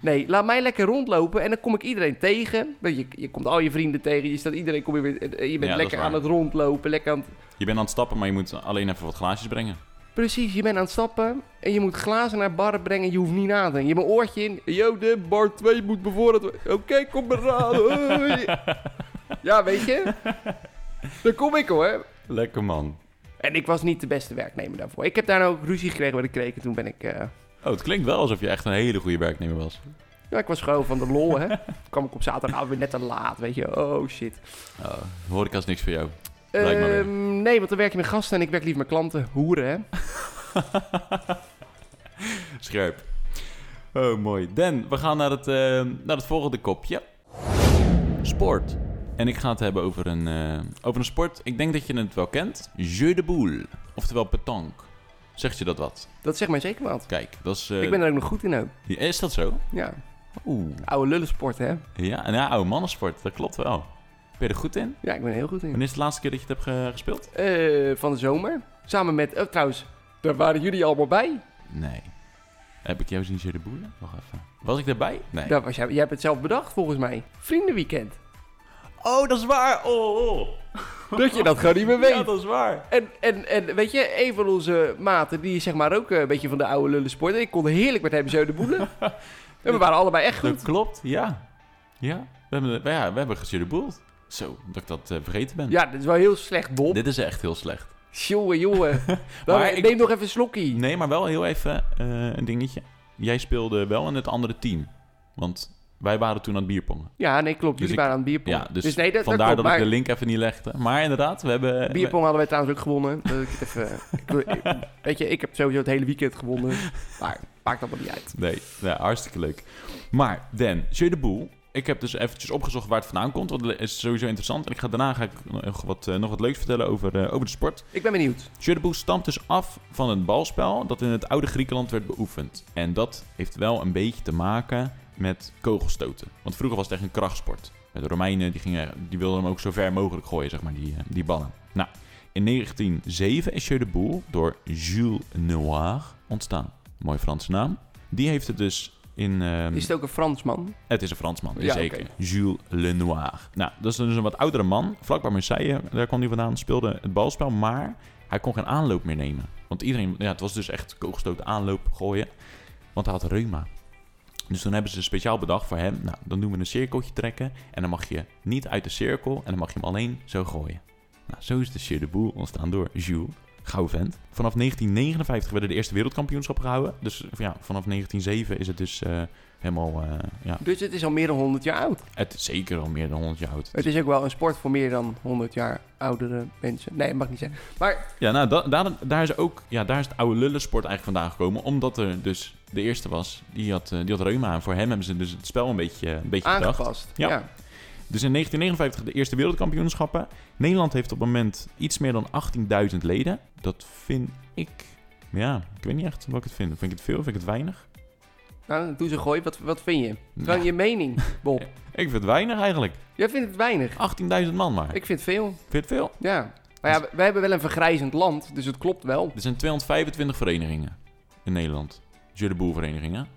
[SPEAKER 2] Nee, laat mij lekker rondlopen en dan kom ik iedereen tegen. Weet Je, je komt al je vrienden tegen, je staat iedereen, kom je, weer, eh, je
[SPEAKER 3] dat
[SPEAKER 2] bent
[SPEAKER 3] is
[SPEAKER 2] lekker
[SPEAKER 3] waar.
[SPEAKER 2] aan het rondlopen, lekker aan het
[SPEAKER 3] Je bent aan het stappen, maar je moet alleen even wat glaasjes brengen.
[SPEAKER 2] Precies, je bent aan het stappen en je moet glazen naar barren brengen. Je hoeft niet na te denken. Je hebt een oortje in. Yo, de bar 2 moet bevoorraad worden. Oké, kom maar aan.
[SPEAKER 3] *laughs*
[SPEAKER 2] hoi. ja, weet je? Daar kom ik hoor.
[SPEAKER 3] Lekker man.
[SPEAKER 2] En ik was niet de beste werknemer daarvoor. Ik heb daar ook ruzie gekregen bij de kreken. Toen ben ik... eh,
[SPEAKER 3] Oh, het klinkt wel alsof je echt een hele goede werknemer was.
[SPEAKER 2] ja, ik was gewoon van de
[SPEAKER 3] *laughs*
[SPEAKER 2] lol, hè. kwam ik op zaterdagavond weer net te laat, weet je. Oh, shit.
[SPEAKER 3] Oh, horeca is niks voor jou. Blijkt maar weer.
[SPEAKER 2] Ehm, nee, want dan werk je met gasten en ik werk liever met klanten. Hoeren, hè.
[SPEAKER 3] Scherp. Oh, mooi. Dan, we gaan naar het, eh, naar het volgende kopje. Sport. En ik ga het hebben over een, eh, over een sport. Ik denk dat je het wel kent. Jeu de boule. Oftewel petanque. Zegt je dat wat?
[SPEAKER 2] Dat zegt mij zeker wat.
[SPEAKER 3] Kijk, dat is... eh,
[SPEAKER 2] Ik ben er ook nog goed in ook.
[SPEAKER 3] ja, Is dat zo?
[SPEAKER 2] Ja,
[SPEAKER 3] Oeh.
[SPEAKER 2] oude lullensport, hè.
[SPEAKER 3] Ja, nou, oude mannensport. Dat klopt wel. Ben je er goed in?
[SPEAKER 2] Ja, ik ben er heel goed in.
[SPEAKER 3] Wanneer is de laatste keer dat je het hebt ge- gespeeld?
[SPEAKER 2] Eh, van de zomer. Samen met, eh, trouwens, daar waren jullie allemaal bij.
[SPEAKER 3] Nee. Heb ik jou zien zitten boeren? Wacht even. Was ik daarbij? Nee.
[SPEAKER 2] Daar was jij, jij hebt het zelf bedacht, volgens mij.
[SPEAKER 3] *laughs*
[SPEAKER 2] Vriendenweekend.
[SPEAKER 3] Oh, dat is waar. Oh, oh.
[SPEAKER 2] Dat je dat gewoon niet meer weet.
[SPEAKER 3] Ja, dat is waar.
[SPEAKER 2] En, en, en weet je, een van onze maten, die is zeg maar ook eh, een beetje van de oude lullen sport. En ik kon heerlijk met hem zo de
[SPEAKER 3] *laughs*
[SPEAKER 2] boelen. en we waren allebei echt goed.
[SPEAKER 3] Dat klopt, ja. Ja, we hebben, we, ja, we hebben gezidderboeld. Zo, dat ik dat eh, vergeten ben.
[SPEAKER 2] Ja, dat is wel heel slecht, Bob.
[SPEAKER 3] Dit is echt heel slecht.
[SPEAKER 2] Jongen, jongen.
[SPEAKER 3] *laughs*
[SPEAKER 2] Dan,
[SPEAKER 3] Maar ik-
[SPEAKER 2] Neem nog even een slokkie.
[SPEAKER 3] Nee, maar wel heel even eh, een dingetje. Jij speelde wel in het andere team. Want wij waren toen aan het bierpongen.
[SPEAKER 2] Ja, nee, klopt. Jullie
[SPEAKER 3] Dus ik-
[SPEAKER 2] waren aan het bierpong.
[SPEAKER 3] Ja, dus,
[SPEAKER 2] nee, dat,
[SPEAKER 3] vandaar dat,
[SPEAKER 2] dat klopt.
[SPEAKER 3] ik de
[SPEAKER 2] maar
[SPEAKER 3] link even niet legde. Maar inderdaad, we hebben...
[SPEAKER 2] bierpong hadden wij trouwens ook gewonnen. Dat ik het even, eh, ik wil- ik- weet je, ik heb sowieso het hele weekend gewonnen. Maar maakt allemaal niet uit.
[SPEAKER 3] Nee, ja, hartstikke leuk. Maar Dan, Jeu de Boel. Ik heb dus eventjes opgezocht waar het vandaan komt. Want het is sowieso interessant. En ik ga, daarna ga ik nog wat, eh, nog wat leuks vertellen over, eh, over de sport.
[SPEAKER 2] Ik ben benieuwd.
[SPEAKER 3] Jeu de Boel stamt dus af van een balspel dat in het oude Griekenland werd beoefend. En dat heeft wel een beetje te maken met kogelstoten. Want vroeger was het echt een krachtsport. De Romeinen die gingen, die wilden hem ook zo ver mogelijk gooien, zeg maar, die, eh, die ballen. Nou, in 1907 is Jeu de Boel door Jules Noir ontstaan. Mooie Franse naam. Die heeft het dus in... ehm,
[SPEAKER 2] Is het ook een Fransman?
[SPEAKER 3] het is een Fransman,
[SPEAKER 2] Ja,
[SPEAKER 3] zeker.
[SPEAKER 2] oké.
[SPEAKER 3] Jules Lenoir. Nou, dat is dus een wat oudere man. Vlak bij Marseille, eh, daar kwam hij vandaan, speelde het balspel. Maar hij kon geen aanloop meer nemen. Want iedereen, ja, het was dus echt kogelstoten aanloop gooien. Want hij had reuma. Dus toen hebben ze speciaal bedacht voor hem. Nou, dan doen we een cirkeltje trekken. En dan mag je niet uit de cirkel. En dan mag je hem alleen zo gooien. Nou, zo is de Sheer de Boel ontstaan door Jules. Gauw vent. Vanaf 1959 werden de eerste wereldkampioenschappen gehouden. Dus ja, vanaf 1907 is het dus eh, helemaal eh, ja,
[SPEAKER 2] Dus het is al meer dan 100 jaar oud.
[SPEAKER 3] het is zeker al meer dan 100 jaar oud.
[SPEAKER 2] Het is ook wel een sport voor meer dan 100 jaar oudere mensen. Nee, dat mag niet zijn. Maar
[SPEAKER 3] Ja, nou, da- daar, daar, is ook, ja, daar is het oude lullensport eigenlijk vandaan gekomen. Omdat er dus de eerste was, die had, eh, die had reuma. En voor hem hebben ze dus het spel een beetje, een beetje bedacht.
[SPEAKER 2] aangepast.
[SPEAKER 3] Ja.
[SPEAKER 2] ja.
[SPEAKER 3] Dus in 1959 de eerste wereldkampioenschappen. Nederland heeft op het moment iets meer dan 18.000 leden. Dat vind ik... Ja, ik weet niet echt wat ik het vind. Vind ik het veel? Vind ik het weinig?
[SPEAKER 2] Nou, doe ze gooi. Wat, wat vind je? Gewoon
[SPEAKER 3] Nou,
[SPEAKER 2] je mening, Bob.
[SPEAKER 3] Ik vind het weinig eigenlijk.
[SPEAKER 2] Jij vindt het weinig.
[SPEAKER 3] 18.000 man maar. Ik
[SPEAKER 2] Ik vind veel.
[SPEAKER 3] vind het veel.
[SPEAKER 2] Ja. Maar ja, we- wij hebben wel een vergrijzend land, dus het klopt wel. Oké.
[SPEAKER 3] Er zijn 225 verenigingen in Nederland. Jeu de Boel verenigingen.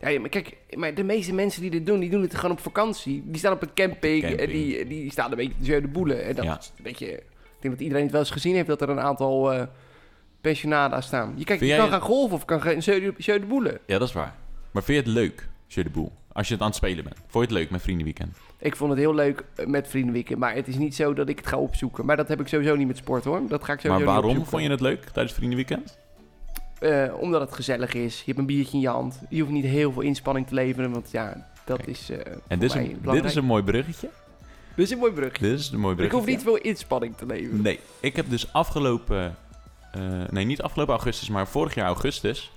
[SPEAKER 2] Ja, ja, maar kijk, maar de meeste mensen die dit doen, die doen het gewoon op vakantie. Die staan op een camping,
[SPEAKER 3] Camping.
[SPEAKER 2] en die, eh, die staan een beetje zo de boelen. En dat
[SPEAKER 3] Ja.
[SPEAKER 2] is een beetje... Ik denk dat iedereen het wel eens gezien heeft dat er een aantal eh pensionada's staan. Je, kijk,
[SPEAKER 3] Vind jij-
[SPEAKER 2] je kan gaan golven of kan gaan zo de- zo de boelen.
[SPEAKER 3] Ja, dat is waar. Maar vind je het leuk, Jeu de Boel? Als je het aan het spelen bent. Vond je het leuk met Vriendenweekend?
[SPEAKER 2] Ik vond het heel leuk eh, met vriendenweekend, maar het is niet zo dat ik het ga opzoeken. Maar dat heb ik sowieso niet met sport hoor. Dat ga ik sowieso
[SPEAKER 3] maar
[SPEAKER 2] niet
[SPEAKER 3] waarom
[SPEAKER 2] opzoeken.
[SPEAKER 3] vond je het leuk tijdens Vriendenweekend?
[SPEAKER 2] Eh, omdat het gezellig is. Je hebt een biertje in je hand. Je hoeft niet heel veel inspanning te leveren, want ja, dat
[SPEAKER 3] Kijk.
[SPEAKER 2] is. eh, voor
[SPEAKER 3] En dit is,
[SPEAKER 2] mij
[SPEAKER 3] een, dit
[SPEAKER 2] belangrijk.
[SPEAKER 3] is een mooi bruggetje.
[SPEAKER 2] Dit is een mooi brugje.
[SPEAKER 3] Dit is een mooi
[SPEAKER 2] Ik
[SPEAKER 3] bruggetje.
[SPEAKER 2] hoef niet veel inspanning te leveren.
[SPEAKER 3] Nee, ik heb dus afgelopen... eh, nee, niet afgelopen augustus, maar vorig jaar augustus...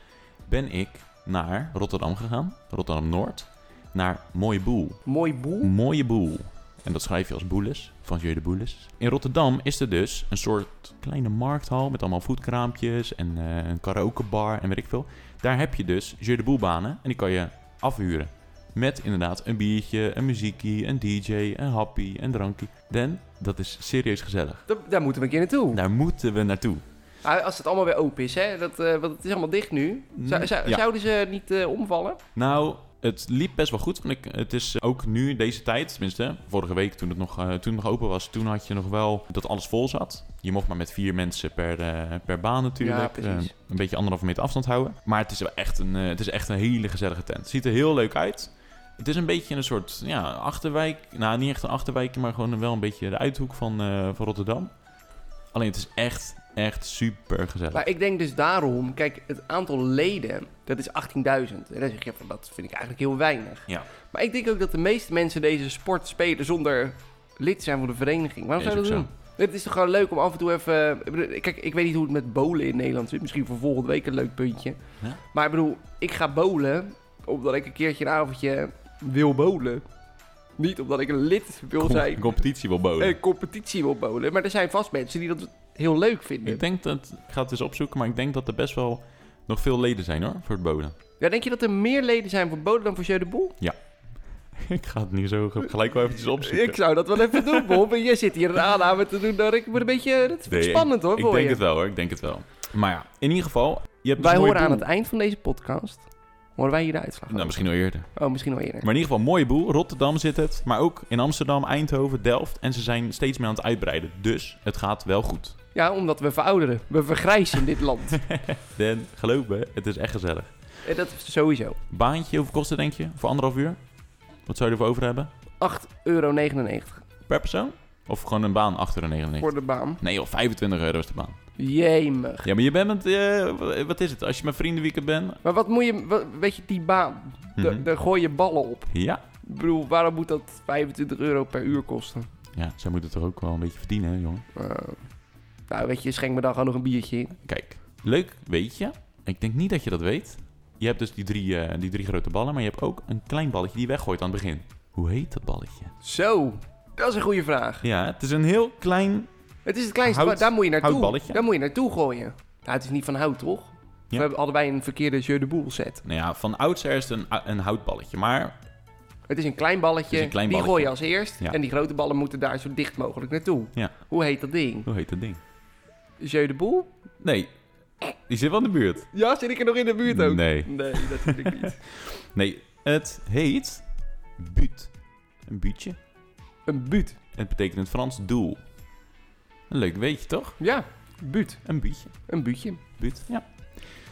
[SPEAKER 3] ben ik naar Rotterdam gegaan. Rotterdam-Noord. Naar Mooie Boel.
[SPEAKER 2] Mooi boel.
[SPEAKER 3] Mooie Boel. En dat schrijf je als Boeles, van Jeu de Boeles. In Rotterdam is er dus een soort kleine markthal met allemaal voetkraampjes en eh, een karaokebar en weet ik veel. Daar heb je dus Jeu de Boelbanen en die kan je afhuren. Met inderdaad een biertje, een muziekie, een DJ, een happy, een drankje. Dan, dat is serieus gezellig.
[SPEAKER 2] Da- daar moeten we een keer naartoe.
[SPEAKER 3] Daar moeten we naartoe.
[SPEAKER 2] Ah, Als het allemaal weer open is, hè? Dat, eh, want het is allemaal dicht nu. Zou- zou-
[SPEAKER 3] Ja.
[SPEAKER 2] Zouden ze niet eh, omvallen?
[SPEAKER 3] Nou, het liep best wel goed. Want ik, het is eh, ook nu, deze tijd, tenminste, vorige week toen het, nog, eh, toen het nog open was, toen had je nog wel dat alles vol zat. Je mocht maar met vier mensen per, eh, per baan natuurlijk.
[SPEAKER 2] Ja, precies.
[SPEAKER 3] Eh, een beetje anderhalve meter afstand houden. Maar het is, wel echt een, eh, het is echt een hele gezellige tent. Het ziet er heel leuk uit. Het is een beetje een soort ja, achterwijk. Nou, niet echt een achterwijkje, maar gewoon wel een beetje de uithoek van, eh, van Rotterdam. Alleen het is echt, echt super gezellig.
[SPEAKER 2] Maar ik denk dus daarom, kijk, het aantal leden, dat is 18.000. En dan zeg je van, dat vind ik eigenlijk heel weinig.
[SPEAKER 3] Ja.
[SPEAKER 2] Maar ik denk ook dat de meeste mensen deze sport spelen zonder lid te zijn van de vereniging. Waarom
[SPEAKER 3] Is
[SPEAKER 2] zou je dat
[SPEAKER 3] ook
[SPEAKER 2] doen? Het is toch gewoon leuk om af en toe even... ik bedoel, Kijk, ik weet niet hoe het met bowlen in Nederland zit. Misschien voor volgende week een leuk puntje.
[SPEAKER 3] Ja.
[SPEAKER 2] Maar ik bedoel, ik ga bowlen omdat ik een keertje een avondje wil bowlen. Niet omdat ik een lid wil
[SPEAKER 3] Com-
[SPEAKER 2] zijn
[SPEAKER 3] competitie wil boden.
[SPEAKER 2] een competitie wil bowlen. Maar er zijn vast mensen die dat heel leuk vinden.
[SPEAKER 3] Ik denk dat, ik ga het eens opzoeken, maar ik denk dat er best wel nog veel leden zijn hoor, voor het bowlen.
[SPEAKER 2] Ja, denk je dat er meer leden zijn voor bowlen dan voor Jeu de Boel?
[SPEAKER 3] *laughs* Ik ga het niet zo gelijk wel eventjes opzoeken.
[SPEAKER 2] Ik zou dat wel even doen, Bob. En jij zit hier een aanname te doen. Nou, ik moet een beetje... Dat is
[SPEAKER 3] Nee,
[SPEAKER 2] spannend hoor,
[SPEAKER 3] ik
[SPEAKER 2] voor
[SPEAKER 3] denk
[SPEAKER 2] je.
[SPEAKER 3] het wel hoor, ik denk het wel. Maar ja, in ieder geval, je hebt dus
[SPEAKER 2] Wij
[SPEAKER 3] mooie
[SPEAKER 2] horen aan
[SPEAKER 3] boel.
[SPEAKER 2] het eind van deze podcast... Horen wij hier de uitslag
[SPEAKER 3] Nou,
[SPEAKER 2] over.
[SPEAKER 3] misschien al eerder.
[SPEAKER 2] Oh, misschien al eerder.
[SPEAKER 3] Maar in ieder geval, mooie boel. Rotterdam zit het, maar ook in Amsterdam, Eindhoven, Delft. En ze zijn steeds meer aan het uitbreiden. Dus het gaat wel goed.
[SPEAKER 2] Ja, omdat we verouderen. We vergrijzen in dit land.
[SPEAKER 3] *laughs* Dan, geloof me, het is echt gezellig.
[SPEAKER 2] En dat is sowieso.
[SPEAKER 3] Baantje, hoeveel kost het denk je? Voor anderhalf uur? Wat zou je ervoor over hebben?
[SPEAKER 2] 8,99 euro
[SPEAKER 3] Per persoon? Of gewoon een baan achter de 99?
[SPEAKER 2] voor de baan.
[SPEAKER 3] Nee joh, 25 euro is de baan.
[SPEAKER 2] Jemig.
[SPEAKER 3] Ja, maar je bent met... eh, wat is het? Als je met vriendenweekend bent...
[SPEAKER 2] Maar wat moet je... wa- weet je, die baan... da-
[SPEAKER 3] Mhm.
[SPEAKER 2] Daar gooi je ballen op.
[SPEAKER 3] Ja.
[SPEAKER 2] Ik bedoel, waarom moet dat 25 euro per uur kosten?
[SPEAKER 3] Ja, zij moeten het toch ook wel een beetje verdienen, hè, jongen?
[SPEAKER 2] Eh, nou, weet je, schenk me dan gewoon nog een biertje in.
[SPEAKER 3] Kijk, leuk weet je. Ik denk niet dat je dat weet. Je hebt dus die drie, eh, die drie grote ballen, maar je hebt ook een klein balletje die je weggooit aan het begin. Hoe heet dat balletje?
[SPEAKER 2] Zo, dat is een goede vraag.
[SPEAKER 3] Ja, het is een heel klein...
[SPEAKER 2] Het is het kleinste,
[SPEAKER 3] Hout-
[SPEAKER 2] maar daar moet je naartoe.
[SPEAKER 3] houtballetje?
[SPEAKER 2] Daar moet je naartoe gooien. Nou, het is niet van hout, toch? Of
[SPEAKER 3] Ja.
[SPEAKER 2] hebben- hadden wij een verkeerde jeu de boel set.
[SPEAKER 3] Nou ja, van oudsher is het een, een houtballetje. Maar
[SPEAKER 2] Het is een klein balletje,
[SPEAKER 3] Het is een klein
[SPEAKER 2] die
[SPEAKER 3] balletje.
[SPEAKER 2] gooi je als eerst.
[SPEAKER 3] Ja.
[SPEAKER 2] En die grote ballen moeten daar zo dicht mogelijk naartoe.
[SPEAKER 3] Ja.
[SPEAKER 2] Hoe heet dat ding?
[SPEAKER 3] hoe heet dat ding?
[SPEAKER 2] Jeu de boel?
[SPEAKER 3] Nee, die zit wel in de buurt.
[SPEAKER 2] Ja, zit ik er nog in de buurt ook?
[SPEAKER 3] Nee.
[SPEAKER 2] Nee, dat vind ik
[SPEAKER 3] *laughs*
[SPEAKER 2] niet.
[SPEAKER 3] Nee, het heet buut. Een buutje.
[SPEAKER 2] Een buut.
[SPEAKER 3] Het betekent in het Frans doel. Een leuk weetje, toch?
[SPEAKER 2] Ja, buut.
[SPEAKER 3] Een buutje.
[SPEAKER 2] Een buutje.
[SPEAKER 3] Buut, ja.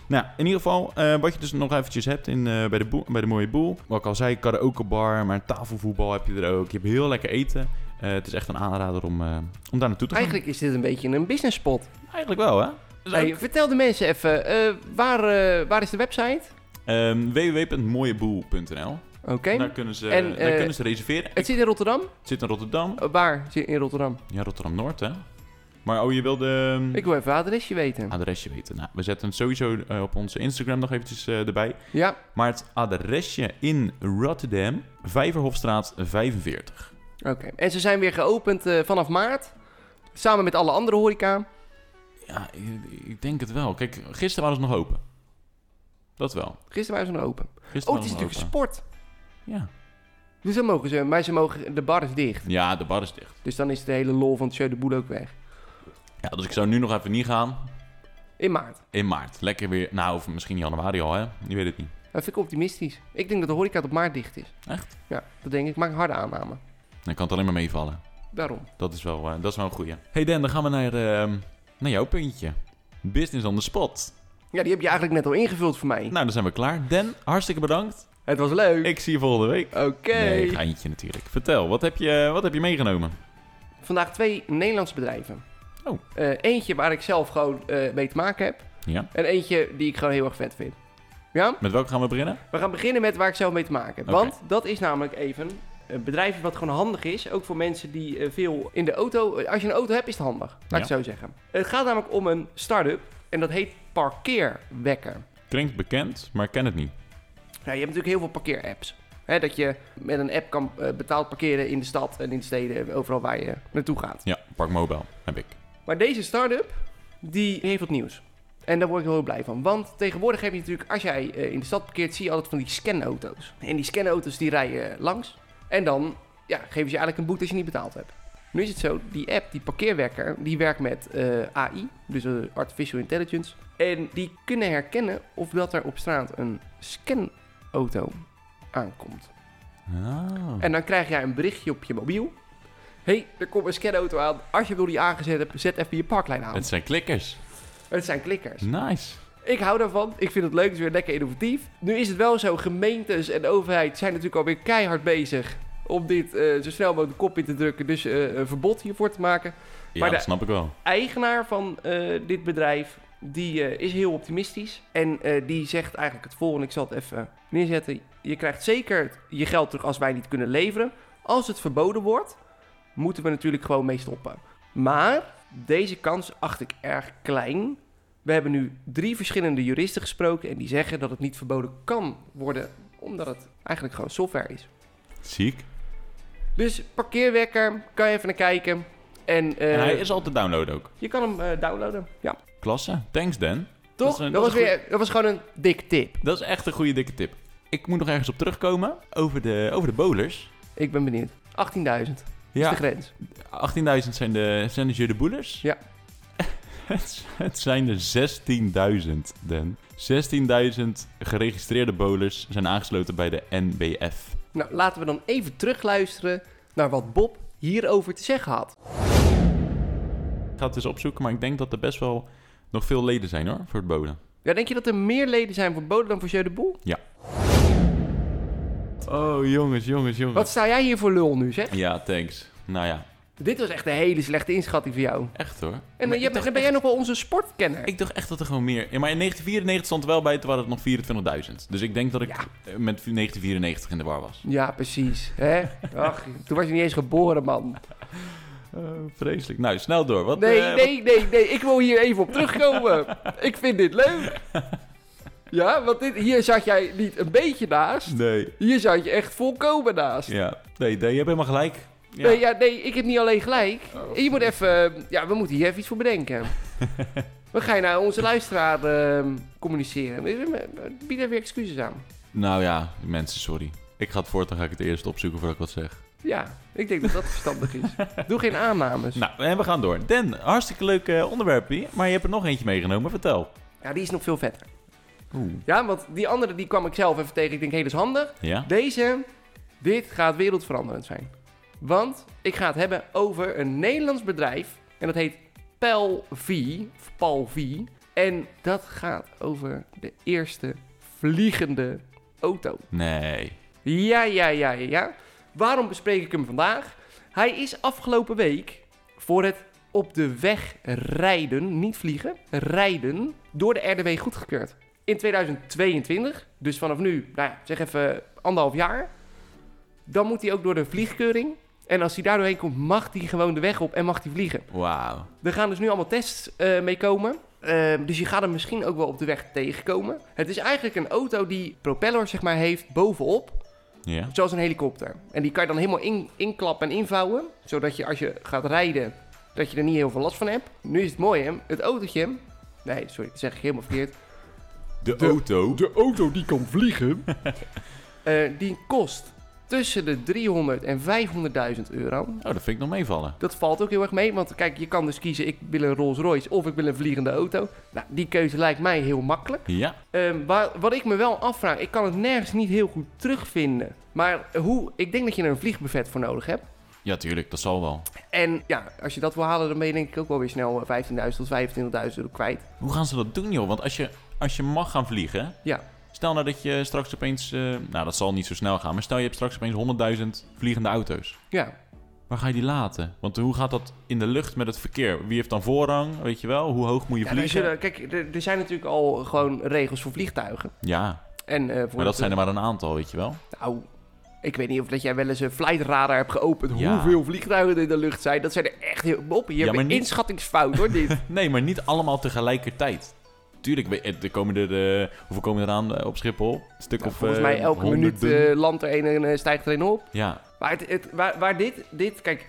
[SPEAKER 3] Nou, in ieder geval, eh, wat je dus nog eventjes hebt in, eh, bij, de boel- bij de mooie boel. Wat ik al zei, karaokebar, maar tafelvoetbal heb je er ook. Je hebt heel lekker eten. Eh, het is echt een aanrader om, eh, om daar naartoe te gaan.
[SPEAKER 2] Eigenlijk is dit een beetje een business spot.
[SPEAKER 3] Eigenlijk wel, hè? Dus
[SPEAKER 2] Hey, vertel de mensen even, eh, waar, eh, waar is de website?
[SPEAKER 3] ehm, www.mooieboel.nl
[SPEAKER 2] Oké.
[SPEAKER 3] Daar, kunnen ze,
[SPEAKER 2] En,
[SPEAKER 3] daar
[SPEAKER 2] eh,
[SPEAKER 3] kunnen ze reserveren.
[SPEAKER 2] Het zit in Rotterdam?
[SPEAKER 3] Het zit in Rotterdam.
[SPEAKER 2] Eh, waar zit in Rotterdam?
[SPEAKER 3] Ja, Rotterdam-Noord, hè? Maar oh, je wilde... ehm,
[SPEAKER 2] Ik wil even het adresje weten.
[SPEAKER 3] adresje weten. Nou, we zetten het sowieso eh, op onze Instagram nog eventjes eh, erbij.
[SPEAKER 2] Ja,
[SPEAKER 3] Maar het adresje in Rotterdam, Vijverhofstraat 45.
[SPEAKER 2] oké. En ze zijn weer geopend eh, vanaf maart. Samen met alle andere horeca.
[SPEAKER 3] Ja, ik, ik denk het wel. Kijk, gisteren waren ze nog open. Dat wel.
[SPEAKER 2] Gisteren waren ze nog open.
[SPEAKER 3] Gisteren
[SPEAKER 2] Oh, het
[SPEAKER 3] waren
[SPEAKER 2] is
[SPEAKER 3] ze nog
[SPEAKER 2] natuurlijk
[SPEAKER 3] open.
[SPEAKER 2] sport.
[SPEAKER 3] Ja.
[SPEAKER 2] Dus dan mogen ze, maar ze mogen, de bar is dicht.
[SPEAKER 3] ja, de bar is dicht.
[SPEAKER 2] Dus dan is de hele lol van het show de boel ook weg.
[SPEAKER 3] Ja, dus ik zou nu nog even niet gaan.
[SPEAKER 2] In maart.
[SPEAKER 3] In maart. Lekker weer. Nou, of misschien januari al, hè? Je weet het niet.
[SPEAKER 2] Dat vind ik optimistisch. Ik denk dat de horeca tot maart dicht is.
[SPEAKER 3] Echt?
[SPEAKER 2] Ja, dat denk ik. Ik maak een harde aanname.
[SPEAKER 3] Dan kan het alleen maar meevallen.
[SPEAKER 2] Daarom.
[SPEAKER 3] Dat is wel, eh, dat is wel een goeie. Hey Dan, dan gaan we naar, ehm, naar jouw puntje. Business on the spot.
[SPEAKER 2] Ja, die heb je eigenlijk net al ingevuld voor mij.
[SPEAKER 3] Nou, dan zijn we klaar. Dan, hartstikke bedankt.
[SPEAKER 2] Het was leuk.
[SPEAKER 3] Ik zie je volgende week.
[SPEAKER 2] Oké.
[SPEAKER 3] Nee, geintje natuurlijk. Vertel, wat heb je, wat heb je meegenomen?
[SPEAKER 2] Vandaag twee Nederlandse bedrijven.
[SPEAKER 3] Oh.
[SPEAKER 2] Eh, eentje waar ik zelf gewoon eh, mee te maken heb.
[SPEAKER 3] Ja.
[SPEAKER 2] En eentje die ik gewoon heel erg vet vind. Ja?
[SPEAKER 3] Met welke gaan we beginnen?
[SPEAKER 2] We gaan beginnen met waar ik zelf mee te maken heb.
[SPEAKER 3] Oké.
[SPEAKER 2] Want dat is namelijk even een bedrijf wat gewoon handig is. Ook voor mensen die eh, veel in de auto... eh, Als je een auto hebt, is het handig. Laat
[SPEAKER 3] Ja.
[SPEAKER 2] ik het zo zeggen. Het gaat namelijk om een start-up. En dat heet Parkeerwekker.
[SPEAKER 3] Klinkt bekend, maar ik ken het niet.
[SPEAKER 2] Nou, je hebt natuurlijk heel veel parkeerapps. Hè, dat je met een app kan eh, betaald parkeren in de stad en in de steden, overal waar je naartoe gaat.
[SPEAKER 3] Ja, Parkmobile heb ik.
[SPEAKER 2] Maar deze start-up, die heeft wat nieuws. En daar word ik wel heel blij van. Want tegenwoordig heb je natuurlijk, als jij eh, in de stad parkeert, zie je altijd van die scanauto's. En die scanauto's die rijden eh, langs. En dan ja, geven ze je eigenlijk een boete als je niet betaald hebt. Nu is het zo, die app, die parkeerwekker, die werkt met eh, AI, dus eh, Artificial Intelligence. En die kunnen herkennen of dat er op straat een scanauto aankomt.
[SPEAKER 3] Ah.
[SPEAKER 2] En dan krijg jij een berichtje op je mobiel. Hé, hey, er komt een scanauto aan. Als je wil die aangezet hebt, zet even je parklijn aan.
[SPEAKER 3] Het zijn klikkers.
[SPEAKER 2] Het zijn klikkers.
[SPEAKER 3] Nice.
[SPEAKER 2] Ik hou daarvan. Ik vind het leuk. Het is weer lekker innovatief. Nu is het wel zo. Gemeentes en overheid zijn natuurlijk alweer keihard bezig om dit eh, zo snel mogelijk de kop in te drukken. Dus eh, een verbod hiervoor te maken.
[SPEAKER 3] Ja,
[SPEAKER 2] Maar de-
[SPEAKER 3] dat snap ik wel.
[SPEAKER 2] Eigenaar van eh, dit bedrijf, die eh, is heel optimistisch. En eh, die zegt eigenlijk het volgende. Ik zal het even neerzetten. Je krijgt zeker je geld terug als wij niet kunnen leveren. Als het verboden wordt, moeten we natuurlijk gewoon mee stoppen. Maar deze kans acht ik erg klein. We hebben nu drie verschillende juristen gesproken en die zeggen dat het niet verboden kan worden, omdat het eigenlijk gewoon software is.
[SPEAKER 3] Ziek.
[SPEAKER 2] Dus parkeerwekker, kan je even naar kijken. En, eh,
[SPEAKER 3] en hij is al te downloaden ook.
[SPEAKER 2] je kan hem eh, downloaden. Ja.
[SPEAKER 3] Klasse. Thanks Dan. Dat
[SPEAKER 2] Toch? Dat,
[SPEAKER 3] is een- dat
[SPEAKER 2] was
[SPEAKER 3] is een
[SPEAKER 2] weer, dat was gewoon een dik tip.
[SPEAKER 3] Dat is echt een goede dikke tip. Ik moet nog ergens op terugkomen over de, over de bowlers.
[SPEAKER 2] Ik ben benieuwd. 18.000 is de
[SPEAKER 3] Ja,
[SPEAKER 2] grens.
[SPEAKER 3] 18.000 zijn de, zijn de jeu de boelers.
[SPEAKER 2] Ja.
[SPEAKER 3] *laughs* het, z- het zijn er 16.000, Dan. 16.000 geregistreerde bowlers zijn aangesloten bij de NBF.
[SPEAKER 2] Nou, laten we dan even terugluisteren naar wat Bob hierover te zeggen had.
[SPEAKER 3] Ik ga het eens opzoeken, maar ik denk dat er best wel nog veel leden zijn hoor, voor het bowlen.
[SPEAKER 2] Ja, denk je dat er meer leden zijn voor Boden dan voor Jeu de Boel?
[SPEAKER 3] Oh, jongens, jongens, jongens.
[SPEAKER 2] Wat sta jij hier voor lul nu, zeg?
[SPEAKER 3] Ja, thanks. Nou ja,
[SPEAKER 2] Dit was echt een hele slechte inschatting voor jou.
[SPEAKER 3] echt hoor.
[SPEAKER 2] En dan,
[SPEAKER 3] Maar
[SPEAKER 2] je-
[SPEAKER 3] ik, dacht,
[SPEAKER 2] dan ben jij nog wel onze sportkenner.
[SPEAKER 3] ik dacht echt dat er gewoon meer... Ja, maar in 1994 stond er wel bij, toen waren het nog 24.000. Dus ik denk dat ik
[SPEAKER 2] Ja.
[SPEAKER 3] eh, met 1994 in de war was.
[SPEAKER 2] Ja, precies. Hè? Ach, toen was je niet eens geboren, man.
[SPEAKER 3] vreselijk. Nou, snel door. Wat,
[SPEAKER 2] Nee,
[SPEAKER 3] eh, wat-
[SPEAKER 2] nee, nee, nee. Ik wil hier even op
[SPEAKER 3] *laughs*
[SPEAKER 2] terugkomen. Ik vind dit leuk. Ja, want dit, hier zat jij niet een beetje naast.
[SPEAKER 3] Nee.
[SPEAKER 2] Hier zat je echt volkomen naast.
[SPEAKER 3] Ja, nee, nee, je hebt helemaal gelijk. Ja.
[SPEAKER 2] Nee, ja, nee, ik heb niet alleen gelijk.
[SPEAKER 3] Oh.
[SPEAKER 2] Je moet even... eh, Ja, we moeten hier even iets voor
[SPEAKER 3] *laughs*
[SPEAKER 2] bedenken. We gaan naar onze luisteraar eh, communiceren. Eh, Bied even excuses aan.
[SPEAKER 3] Nou ja, mensen, sorry. Ik ga het voortaan ga ik het eerst opzoeken voordat ik wat zeg.
[SPEAKER 2] Ja, ik denk dat dat
[SPEAKER 3] *laughs*
[SPEAKER 2] verstandig is. Doe geen aannames.
[SPEAKER 3] Nou, en we gaan door. Dan, hartstikke leuk eh, onderwerp hier, maar je hebt er nog eentje meegenomen. Vertel.
[SPEAKER 2] Ja, die is nog veel vetter.
[SPEAKER 3] Oeh.
[SPEAKER 2] Ja, want die andere die kwam ik zelf even tegen. Ik denk, hé, dat is handig.
[SPEAKER 3] Ja?
[SPEAKER 2] Deze, dit gaat wereldveranderend zijn. Want ik ga het hebben over een Nederlands bedrijf. En dat heet Palvi. of Palvi. En dat gaat over de eerste vliegende auto.
[SPEAKER 3] Nee.
[SPEAKER 2] Ja, ja, ja, ja, ja. Waarom bespreek ik hem vandaag? Hij is afgelopen week voor het op de weg rijden, niet vliegen, rijden, door de RDW goedgekeurd. In 2022, dus vanaf nu, nou ja, zeg even anderhalf jaar, dan moet hij ook door de vliegkeuring. En als hij daar doorheen komt, mag hij gewoon de weg op en mag hij vliegen.
[SPEAKER 3] Wauw.
[SPEAKER 2] Er gaan dus nu allemaal tests eh, mee komen. Eh, dus je gaat hem misschien ook wel op de weg tegenkomen. Het is eigenlijk een auto die propeller zeg maar, heeft bovenop.
[SPEAKER 3] Ja?
[SPEAKER 2] Zoals een helikopter. En die kan je dan helemaal in, inklappen en invouwen. Zodat je als je gaat rijden, dat je er niet heel veel last van hebt. Nu is het mooi hè, het autootje... Nee, sorry, dat zeg ik helemaal verkeerd.
[SPEAKER 3] De,
[SPEAKER 2] De-
[SPEAKER 3] auto.
[SPEAKER 2] De auto die kan vliegen. Eh, die kost tussen de 300 en 500.000 euro.
[SPEAKER 3] Oh, dat vind ik nog meevallen.
[SPEAKER 2] Dat valt ook heel erg mee, want kijk, je kan dus kiezen... ik wil een Rolls Royce of ik wil een vliegende auto. Nou, die keuze lijkt mij heel makkelijk.
[SPEAKER 3] Ja.
[SPEAKER 2] Ehm, waar- wat ik me wel afvraag, ik kan het nergens niet heel goed terugvinden. Maar hoe, ik denk dat je er een vliegbuffet voor nodig hebt.
[SPEAKER 3] Ja, tuurlijk, dat zal wel.
[SPEAKER 2] En ja, als je dat wil halen, dan ben je denk ik ook wel weer snel eh, 15.000 tot 25.000 euro kwijt.
[SPEAKER 3] Hoe gaan ze dat doen, joh? Want als je, als je mag gaan vliegen...
[SPEAKER 2] Ja.
[SPEAKER 3] Stel nou dat je straks opeens... eh, nou, dat zal niet zo snel gaan. Maar stel je hebt straks opeens 100.000 vliegende auto's.
[SPEAKER 2] Ja,
[SPEAKER 3] Waar ga je die laten? Want hoe gaat dat in de lucht met het verkeer? Wie heeft dan voorrang? Weet je wel? Hoe hoog moet je
[SPEAKER 2] ja daar
[SPEAKER 3] vliegen?
[SPEAKER 2] zullen- kijk, er, er zijn natuurlijk al gewoon regels voor vliegtuigen.
[SPEAKER 3] Ja,
[SPEAKER 2] En, eh, voor
[SPEAKER 3] maar dat
[SPEAKER 2] het-
[SPEAKER 3] zijn er maar een aantal, weet je
[SPEAKER 2] *laughs*
[SPEAKER 3] wel?
[SPEAKER 2] Nou, ik weet niet of dat jij wel eens een flightradar hebt geopend.
[SPEAKER 3] Ja.
[SPEAKER 2] Hoeveel vliegtuigen er in de lucht zijn. Dat zijn er echt heel... Bob, je
[SPEAKER 3] Ja,
[SPEAKER 2] hebt
[SPEAKER 3] maar
[SPEAKER 2] een
[SPEAKER 3] niet-
[SPEAKER 2] inschattingsfout hoor,
[SPEAKER 3] *laughs*
[SPEAKER 2] dit.
[SPEAKER 3] Nee, maar niet allemaal tegelijkertijd. Tuurlijk, we- eh, er komen er, eh, hoeveel komen er aan eh, op Schiphol? Een stuk
[SPEAKER 2] Nou,
[SPEAKER 3] of
[SPEAKER 2] volgens
[SPEAKER 3] eh,
[SPEAKER 2] mij elke
[SPEAKER 3] honderden.
[SPEAKER 2] minuut eh, landt er een en eh, stijgt er een op.
[SPEAKER 3] Ja,
[SPEAKER 2] Maar, het, het- waar, waar dit, dit, kijk,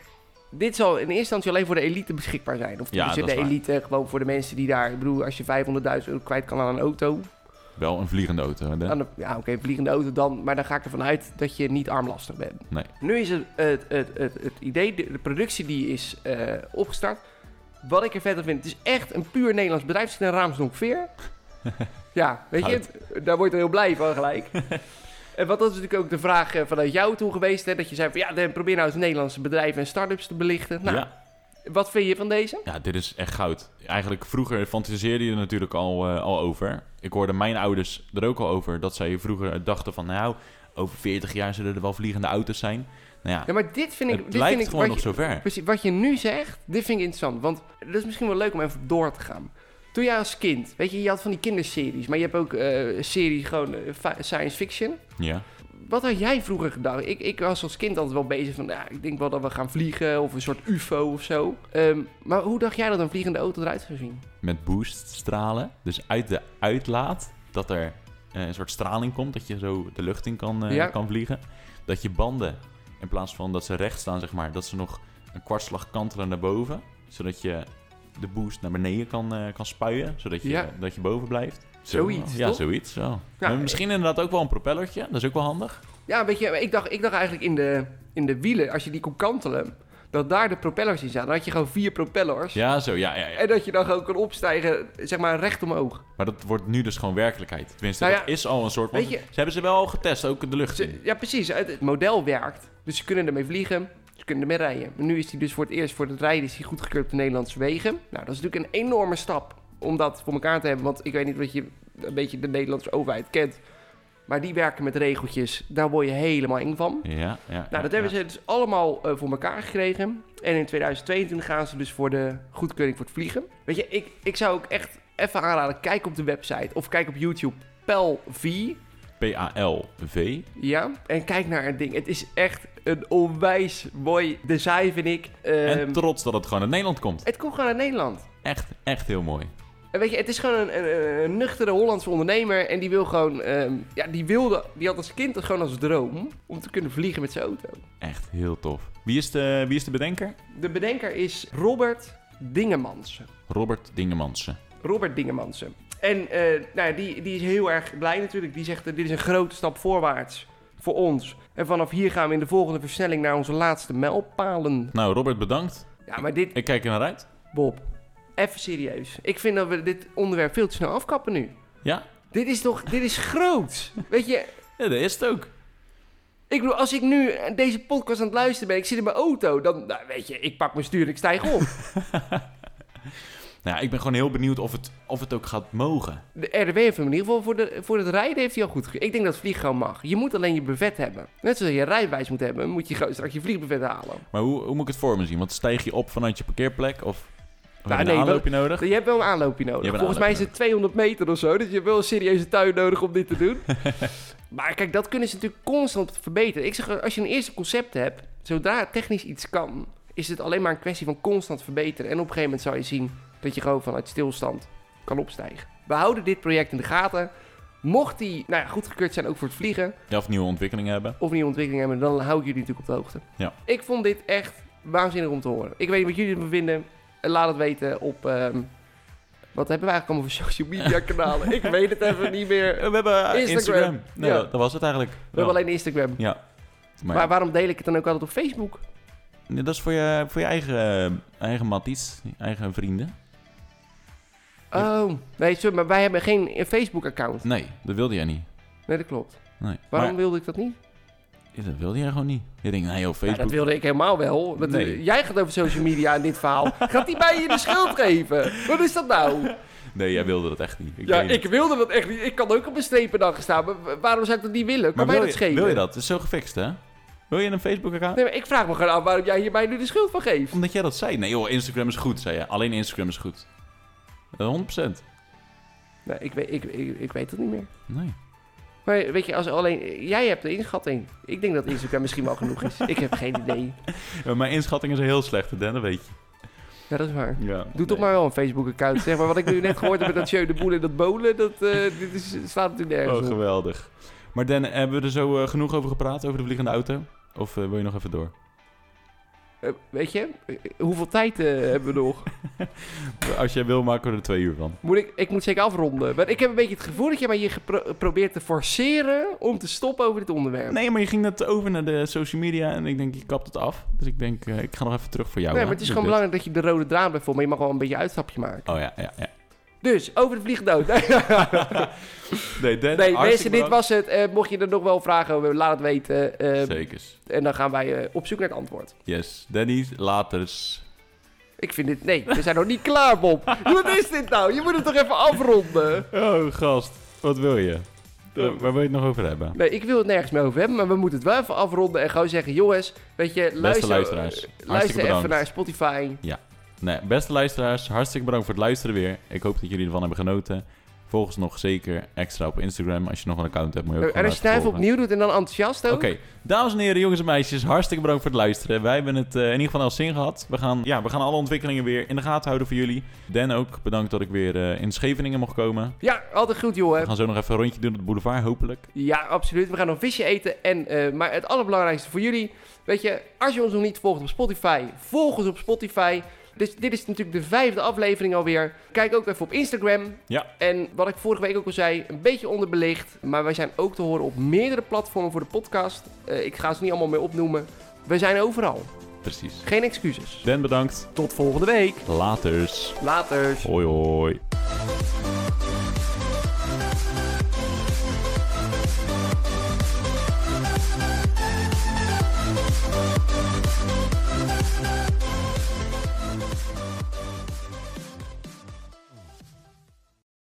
[SPEAKER 2] dit zal in eerste instantie alleen voor de elite beschikbaar zijn. Of
[SPEAKER 3] Ja,
[SPEAKER 2] dus
[SPEAKER 3] dat
[SPEAKER 2] de
[SPEAKER 3] is waar.
[SPEAKER 2] elite, gewoon voor de mensen die daar, ik bedoel, als je 500.000 euro kwijt kan aan een auto.
[SPEAKER 3] wel een vliegende auto. hè?
[SPEAKER 2] aan een- nou, ja, oké, vliegende auto dan, maar dan ga ik ervan uit dat je niet armlastig bent.
[SPEAKER 3] Nee.
[SPEAKER 2] Nu is het, het, het, het, het idee, de, de productie die is eh, opgestart. Wat ik er verder vind, het is echt een puur Nederlands bedrijf. Het zit
[SPEAKER 3] *laughs*
[SPEAKER 2] in Raamsdonk-Veer. ja, weet je,
[SPEAKER 3] Hout.
[SPEAKER 2] het- daar word je er heel blij
[SPEAKER 3] *laughs*
[SPEAKER 2] van gelijk. En wat dat is natuurlijk ook de vraag eh, vanuit jou toe geweest, hè, dat je zei van ja, dan probeer nou eens Nederlandse bedrijven en start-ups te belichten. Nou,
[SPEAKER 3] ja.
[SPEAKER 2] wat vind je van deze?
[SPEAKER 3] ja, dit is echt goud. Eigenlijk vroeger fantaseerde je er natuurlijk al, eh, al over. Ik hoorde mijn ouders er ook al over dat zij vroeger dachten van... nou, over 40 jaar zullen er wel vliegende auto's zijn. Nou ja,
[SPEAKER 2] Ja, maar dit vind ik,
[SPEAKER 3] het
[SPEAKER 2] dit
[SPEAKER 3] lijkt
[SPEAKER 2] vind ik
[SPEAKER 3] gewoon
[SPEAKER 2] wat
[SPEAKER 3] nog
[SPEAKER 2] je-
[SPEAKER 3] zover.
[SPEAKER 2] Precies, wat je nu zegt, dit vind ik interessant. Want dat is misschien wel leuk om even door te gaan. Toen jij als kind, weet je, je had van die kinderseries, maar je hebt ook eh series gewoon eh, fi- science fiction.
[SPEAKER 3] Ja,
[SPEAKER 2] Wat had jij vroeger gedacht? Ik, ik was als kind altijd wel bezig van, ja, ik denk wel dat we gaan vliegen of een soort UFO of zo. Ehm, maar hoe dacht jij dat een vliegende auto eruit zou zien?
[SPEAKER 3] met booststralen. Dus uit de uitlaat dat er eh, een soort straling komt, dat je zo de lucht in kan, eh,
[SPEAKER 2] Ja.
[SPEAKER 3] kan vliegen. Dat je banden, in plaats van dat ze recht staan, zeg maar, dat ze nog een kwartslag kantelen naar boven. Zodat je de boost naar beneden kan, eh, kan spuien, zodat je,
[SPEAKER 2] Ja.
[SPEAKER 3] dat je boven blijft.
[SPEAKER 2] Zoiets,
[SPEAKER 3] Ja,
[SPEAKER 2] toch?
[SPEAKER 3] zoiets. Ja.
[SPEAKER 2] Ja,
[SPEAKER 3] Maar misschien inderdaad ook wel een propellertje. Dat is ook wel handig.
[SPEAKER 2] Ja, weet je, ik dacht, ik dacht eigenlijk in de, in de wielen, als je die kon kantelen, dat daar de propellers in zaten. Dan had je gewoon vier propellers.
[SPEAKER 3] Ja, zo. Ja, ja, ja.
[SPEAKER 2] En dat je dan gewoon kon opstijgen, zeg maar recht omhoog.
[SPEAKER 3] Maar dat wordt nu dus gewoon werkelijkheid. Tenminste,
[SPEAKER 2] Nou
[SPEAKER 3] dat is al een soort...
[SPEAKER 2] weet
[SPEAKER 3] want
[SPEAKER 2] je-
[SPEAKER 3] Ze hebben ze wel al getest, ook in de lucht.
[SPEAKER 2] Ze- ja, precies. Het, het model werkt. Dus ze kunnen ermee vliegen, ze kunnen ermee rijden. En nu is die dus voor het eerst voor het rijden is die goedgekeurd op de Nederlandse wegen. Nou, dat is natuurlijk een enorme stap om dat voor elkaar te hebben. Want ik weet niet wat je een beetje de Nederlandse overheid kent. Maar die werken met regeltjes. Daar word je helemaal eng van.
[SPEAKER 3] Ja, ja. ja,
[SPEAKER 2] Nou,
[SPEAKER 3] ja.
[SPEAKER 2] dat hebben ze dus allemaal eh, voor elkaar gekregen. En in 2022 gaan ze dus voor de goedkeuring voor het vliegen. Weet je, ik, ik zou ook echt even aanraden, kijk op de website of kijk op YouTube. Pel V,
[SPEAKER 3] P-A-L-V.
[SPEAKER 2] ja. En kijk naar het ding. Het is echt een onwijs mooi design, vind ik. Ehm,
[SPEAKER 3] en trots dat het gewoon uit Nederland komt.
[SPEAKER 2] het komt gewoon uit Nederland.
[SPEAKER 3] Echt, echt heel mooi.
[SPEAKER 2] En weet je, het is gewoon een, een, een nuchtere Hollandse ondernemer. En die wil gewoon, ehm, ja, die wilde, die had als kind gewoon als droom om te kunnen vliegen met zijn auto.
[SPEAKER 3] Echt heel tof. Wie is de, wie is de bedenker?
[SPEAKER 2] De bedenker is Robert Dingemans.
[SPEAKER 3] Robert Dingemansen.
[SPEAKER 2] Robert Dingemansen. En eh, nou, ja, die, die is heel erg blij natuurlijk. Die zegt, eh, dit is een grote stap voorwaarts voor ons. En vanaf hier gaan we in de volgende versnelling naar onze laatste mijlpalen.
[SPEAKER 3] Nou, Robert, bedankt.
[SPEAKER 2] Ja, maar dit,
[SPEAKER 3] Ik kijk er naar uit.
[SPEAKER 2] Bob, even serieus. Ik vind dat we dit onderwerp veel te snel afkappen nu.
[SPEAKER 3] Ja,
[SPEAKER 2] Dit is toch, dit is groot. Weet je,
[SPEAKER 3] ja dat is het ook.
[SPEAKER 2] ik bedoel, als ik nu eh, deze podcast aan het luisteren ben, ik zit in mijn auto, dan, nou, weet je, ik pak mijn stuur en ik stijg op.
[SPEAKER 3] Nou, ja, ik ben gewoon heel benieuwd of het, of het ook gaat mogen.
[SPEAKER 2] De RDW heeft hem in ieder geval voor, de, voor het rijden heeft hij al goed gekregen. Ik denk dat vlieg gewoon mag. Je moet alleen je bevet hebben. Net zoals je een rijbewijs moet hebben, moet je gewoon straks je vliegbevet halen.
[SPEAKER 3] Maar hoe, hoe moet ik het voor me zien? Want stijg je op vanuit je parkeerplek of... of
[SPEAKER 2] Nou,
[SPEAKER 3] heb je
[SPEAKER 2] nee,
[SPEAKER 3] een aanloopje nodig?
[SPEAKER 2] Je hebt wel een aanloopje
[SPEAKER 3] Je
[SPEAKER 2] nodig.
[SPEAKER 3] hebt een
[SPEAKER 2] Volgens mij is
[SPEAKER 3] aanloopje
[SPEAKER 2] het 200 meter of zo, dus je hebt wel een serieuze tuin nodig om dit te
[SPEAKER 3] *laughs*
[SPEAKER 2] doen. maar kijk, dat kunnen ze natuurlijk constant verbeteren. Ik zeg, als je een eerste concept hebt, zodra technisch iets kan, is het alleen maar een kwestie van constant verbeteren. En op een gegeven moment zal je zien dat je gewoon vanuit stilstand kan opstijgen. We houden dit project in de gaten. Mocht die nou ja, goedgekeurd zijn ook voor het vliegen,
[SPEAKER 3] Ja, of nieuwe ontwikkelingen hebben?
[SPEAKER 2] of nieuwe ontwikkelingen hebben, dan hou ik jullie natuurlijk op de hoogte.
[SPEAKER 3] Ja.
[SPEAKER 2] Ik vond dit echt waanzinnig om te horen. Ik weet niet wat jullie ervan vinden. Eh, Laat het weten op. ehm, wat hebben we eigenlijk allemaal voor social
[SPEAKER 3] *laughs*
[SPEAKER 2] media kanalen? ik weet het even niet meer.
[SPEAKER 3] We
[SPEAKER 2] We
[SPEAKER 3] hebben eh,
[SPEAKER 2] Instagram.
[SPEAKER 3] Instagram. Nee,
[SPEAKER 2] Ja.
[SPEAKER 3] dat was het eigenlijk. We
[SPEAKER 2] hebben alleen Instagram. Maar,
[SPEAKER 3] Ja. Maar,
[SPEAKER 2] waarom deel ik het dan ook altijd op Facebook?
[SPEAKER 3] Nee, dat is voor je, voor je eigen, eh, eigen matties, je eigen vrienden.
[SPEAKER 2] Oh, nee, sorry, maar wij hebben geen Facebook-account.
[SPEAKER 3] Nee, dat wilde jij niet.
[SPEAKER 2] Nee, dat klopt.
[SPEAKER 3] Nee.
[SPEAKER 2] Waarom
[SPEAKER 3] Maar,
[SPEAKER 2] wilde ik dat niet?
[SPEAKER 3] ja, dat wilde jij gewoon niet. Je denkt, nee joh,
[SPEAKER 2] Ja,
[SPEAKER 3] Facebook.
[SPEAKER 2] dat wilde ik helemaal wel. Want, eh,
[SPEAKER 3] Nee.
[SPEAKER 2] Jij gaat over social media in dit verhaal. Gaat die mij hier de schuld geven? Wat is dat nou?
[SPEAKER 3] Nee, jij wilde dat echt niet.
[SPEAKER 2] Ja,
[SPEAKER 3] weet het.
[SPEAKER 2] ik wilde dat echt niet. Ik kan ook op een strependag staan. Maar wa- waarom zou ik dat niet willen? Kan
[SPEAKER 3] Maar
[SPEAKER 2] mij
[SPEAKER 3] wil
[SPEAKER 2] dat
[SPEAKER 3] je,
[SPEAKER 2] schelen?
[SPEAKER 3] wil je dat? Het is zo gefixt, hè? Wil je een Facebook-account?
[SPEAKER 2] Nee, maar ik vraag me gewoon af waarom jij hier mij nu de schuld van geeft.
[SPEAKER 3] Omdat jij dat zei. Nee joh, Instagram is goed, zei je. Alleen Instagram is goed. Eh, 100%.
[SPEAKER 2] Nee, ik, weet, ik, ik, ik weet het niet meer.
[SPEAKER 3] Nee.
[SPEAKER 2] Maar weet je, als alleen... Jij hebt de inschatting. Ik denk dat Instagram misschien wel genoeg is. Ik heb geen idee.
[SPEAKER 3] Ja, Mijn inschatting is heel slecht, hè? Dat weet je.
[SPEAKER 2] Ja, dat is waar.
[SPEAKER 3] Ja.
[SPEAKER 2] Doe toch maar wel een Facebook-account. Zeg maar wat ik nu net gehoord heb met dat Jeu de Boel en dat Bolen. Dat eh, dit is, slaat natuurlijk nergens
[SPEAKER 3] Oh,
[SPEAKER 2] op.
[SPEAKER 3] geweldig. Maar Dan, hebben we er zo eh, genoeg over gepraat, over de vliegende auto? Of eh, wil je nog even door?
[SPEAKER 2] Eh, weet je, eh, hoeveel tijd eh, hebben we nog?
[SPEAKER 3] Als jij wil, maken we er twee uur van.
[SPEAKER 2] Moet ik, ik moet zeker afronden. Maar ik heb een beetje het gevoel dat jij mij hier gepro- probeert te forceren om te stoppen over dit onderwerp.
[SPEAKER 3] Nee, maar je ging net over naar de social media en ik denk, je kapt het af. Dus ik denk, eh, ik ga nog even terug voor jou.
[SPEAKER 2] nee,
[SPEAKER 3] hè?
[SPEAKER 2] maar het is
[SPEAKER 3] Doe
[SPEAKER 2] gewoon
[SPEAKER 3] dit.
[SPEAKER 2] belangrijk dat je de rode draad blijft volgen. Maar je mag wel een beetje een uitstapje maken.
[SPEAKER 3] Oh ja, ja, ja.
[SPEAKER 2] Dus, over de vliegdood. *laughs* Nee,
[SPEAKER 3] *laughs* Nee, Dan,
[SPEAKER 2] nee
[SPEAKER 3] hartstikke
[SPEAKER 2] mensen, dit was het. Eh, mocht je er nog wel vragen over, laat het weten. Eh,
[SPEAKER 3] bedankt. Zekers.
[SPEAKER 2] en dan gaan wij eh, op zoek naar het antwoord.
[SPEAKER 3] Yes. Danny, laters.
[SPEAKER 2] Ik vind dit... Nee, we zijn nog niet klaar, Bob. *laughs* Wat is dit nou? Je moet het toch even afronden?
[SPEAKER 3] Oh, gast. Wat wil je? Eh, Waar wil je het nog over hebben?
[SPEAKER 2] Nee, ik wil het nergens meer over hebben. Maar we moeten het wel even afronden en gewoon zeggen... Jongens, weet je, luister,
[SPEAKER 3] luisteraars,
[SPEAKER 2] eh,
[SPEAKER 3] hartstikke
[SPEAKER 2] luister even
[SPEAKER 3] bedankt.
[SPEAKER 2] naar Spotify.
[SPEAKER 3] Nee, beste luisteraars, hartstikke bedankt voor het luisteren weer. Ik hoop dat jullie ervan hebben genoten. Volg ons nog zeker extra op Instagram. Als je nog een account hebt, moet je ook
[SPEAKER 2] en
[SPEAKER 3] gewoon
[SPEAKER 2] als je het nou
[SPEAKER 3] laten
[SPEAKER 2] even
[SPEAKER 3] volgen.
[SPEAKER 2] opnieuw doet en dan enthousiast ook.
[SPEAKER 3] Oké, dames en heren, jongens en meisjes, hartstikke bedankt voor het luisteren. Wij hebben het eh, in ieder geval al zin gehad. We gaan, ja, we gaan alle ontwikkelingen weer in de gaten houden voor jullie. Dan ook, bedankt dat ik weer eh, in Scheveningen mocht komen.
[SPEAKER 2] Ja, altijd goed,
[SPEAKER 3] We
[SPEAKER 2] jongen.
[SPEAKER 3] gaan zo nog even een rondje doen op de boulevard, hopelijk.
[SPEAKER 2] Ja, absoluut. We gaan nog visje eten. En, eh, maar het allerbelangrijkste voor jullie, weet je, als je ons nog niet volgt op Spotify, volg ons op Spotify. Dus dit is natuurlijk de vijfde aflevering alweer. Kijk ook even op Instagram.
[SPEAKER 1] Ja.
[SPEAKER 2] En wat ik vorige week ook al zei, een beetje onderbelicht. Maar wij zijn ook te horen op meerdere platformen voor de podcast. Eh, ik ga ze niet allemaal meer opnoemen. We zijn overal.
[SPEAKER 3] Precies.
[SPEAKER 2] Geen excuses.
[SPEAKER 1] Dan bedankt.
[SPEAKER 2] Tot volgende week.
[SPEAKER 1] Laters.
[SPEAKER 2] Laters.
[SPEAKER 1] Hoi hoi.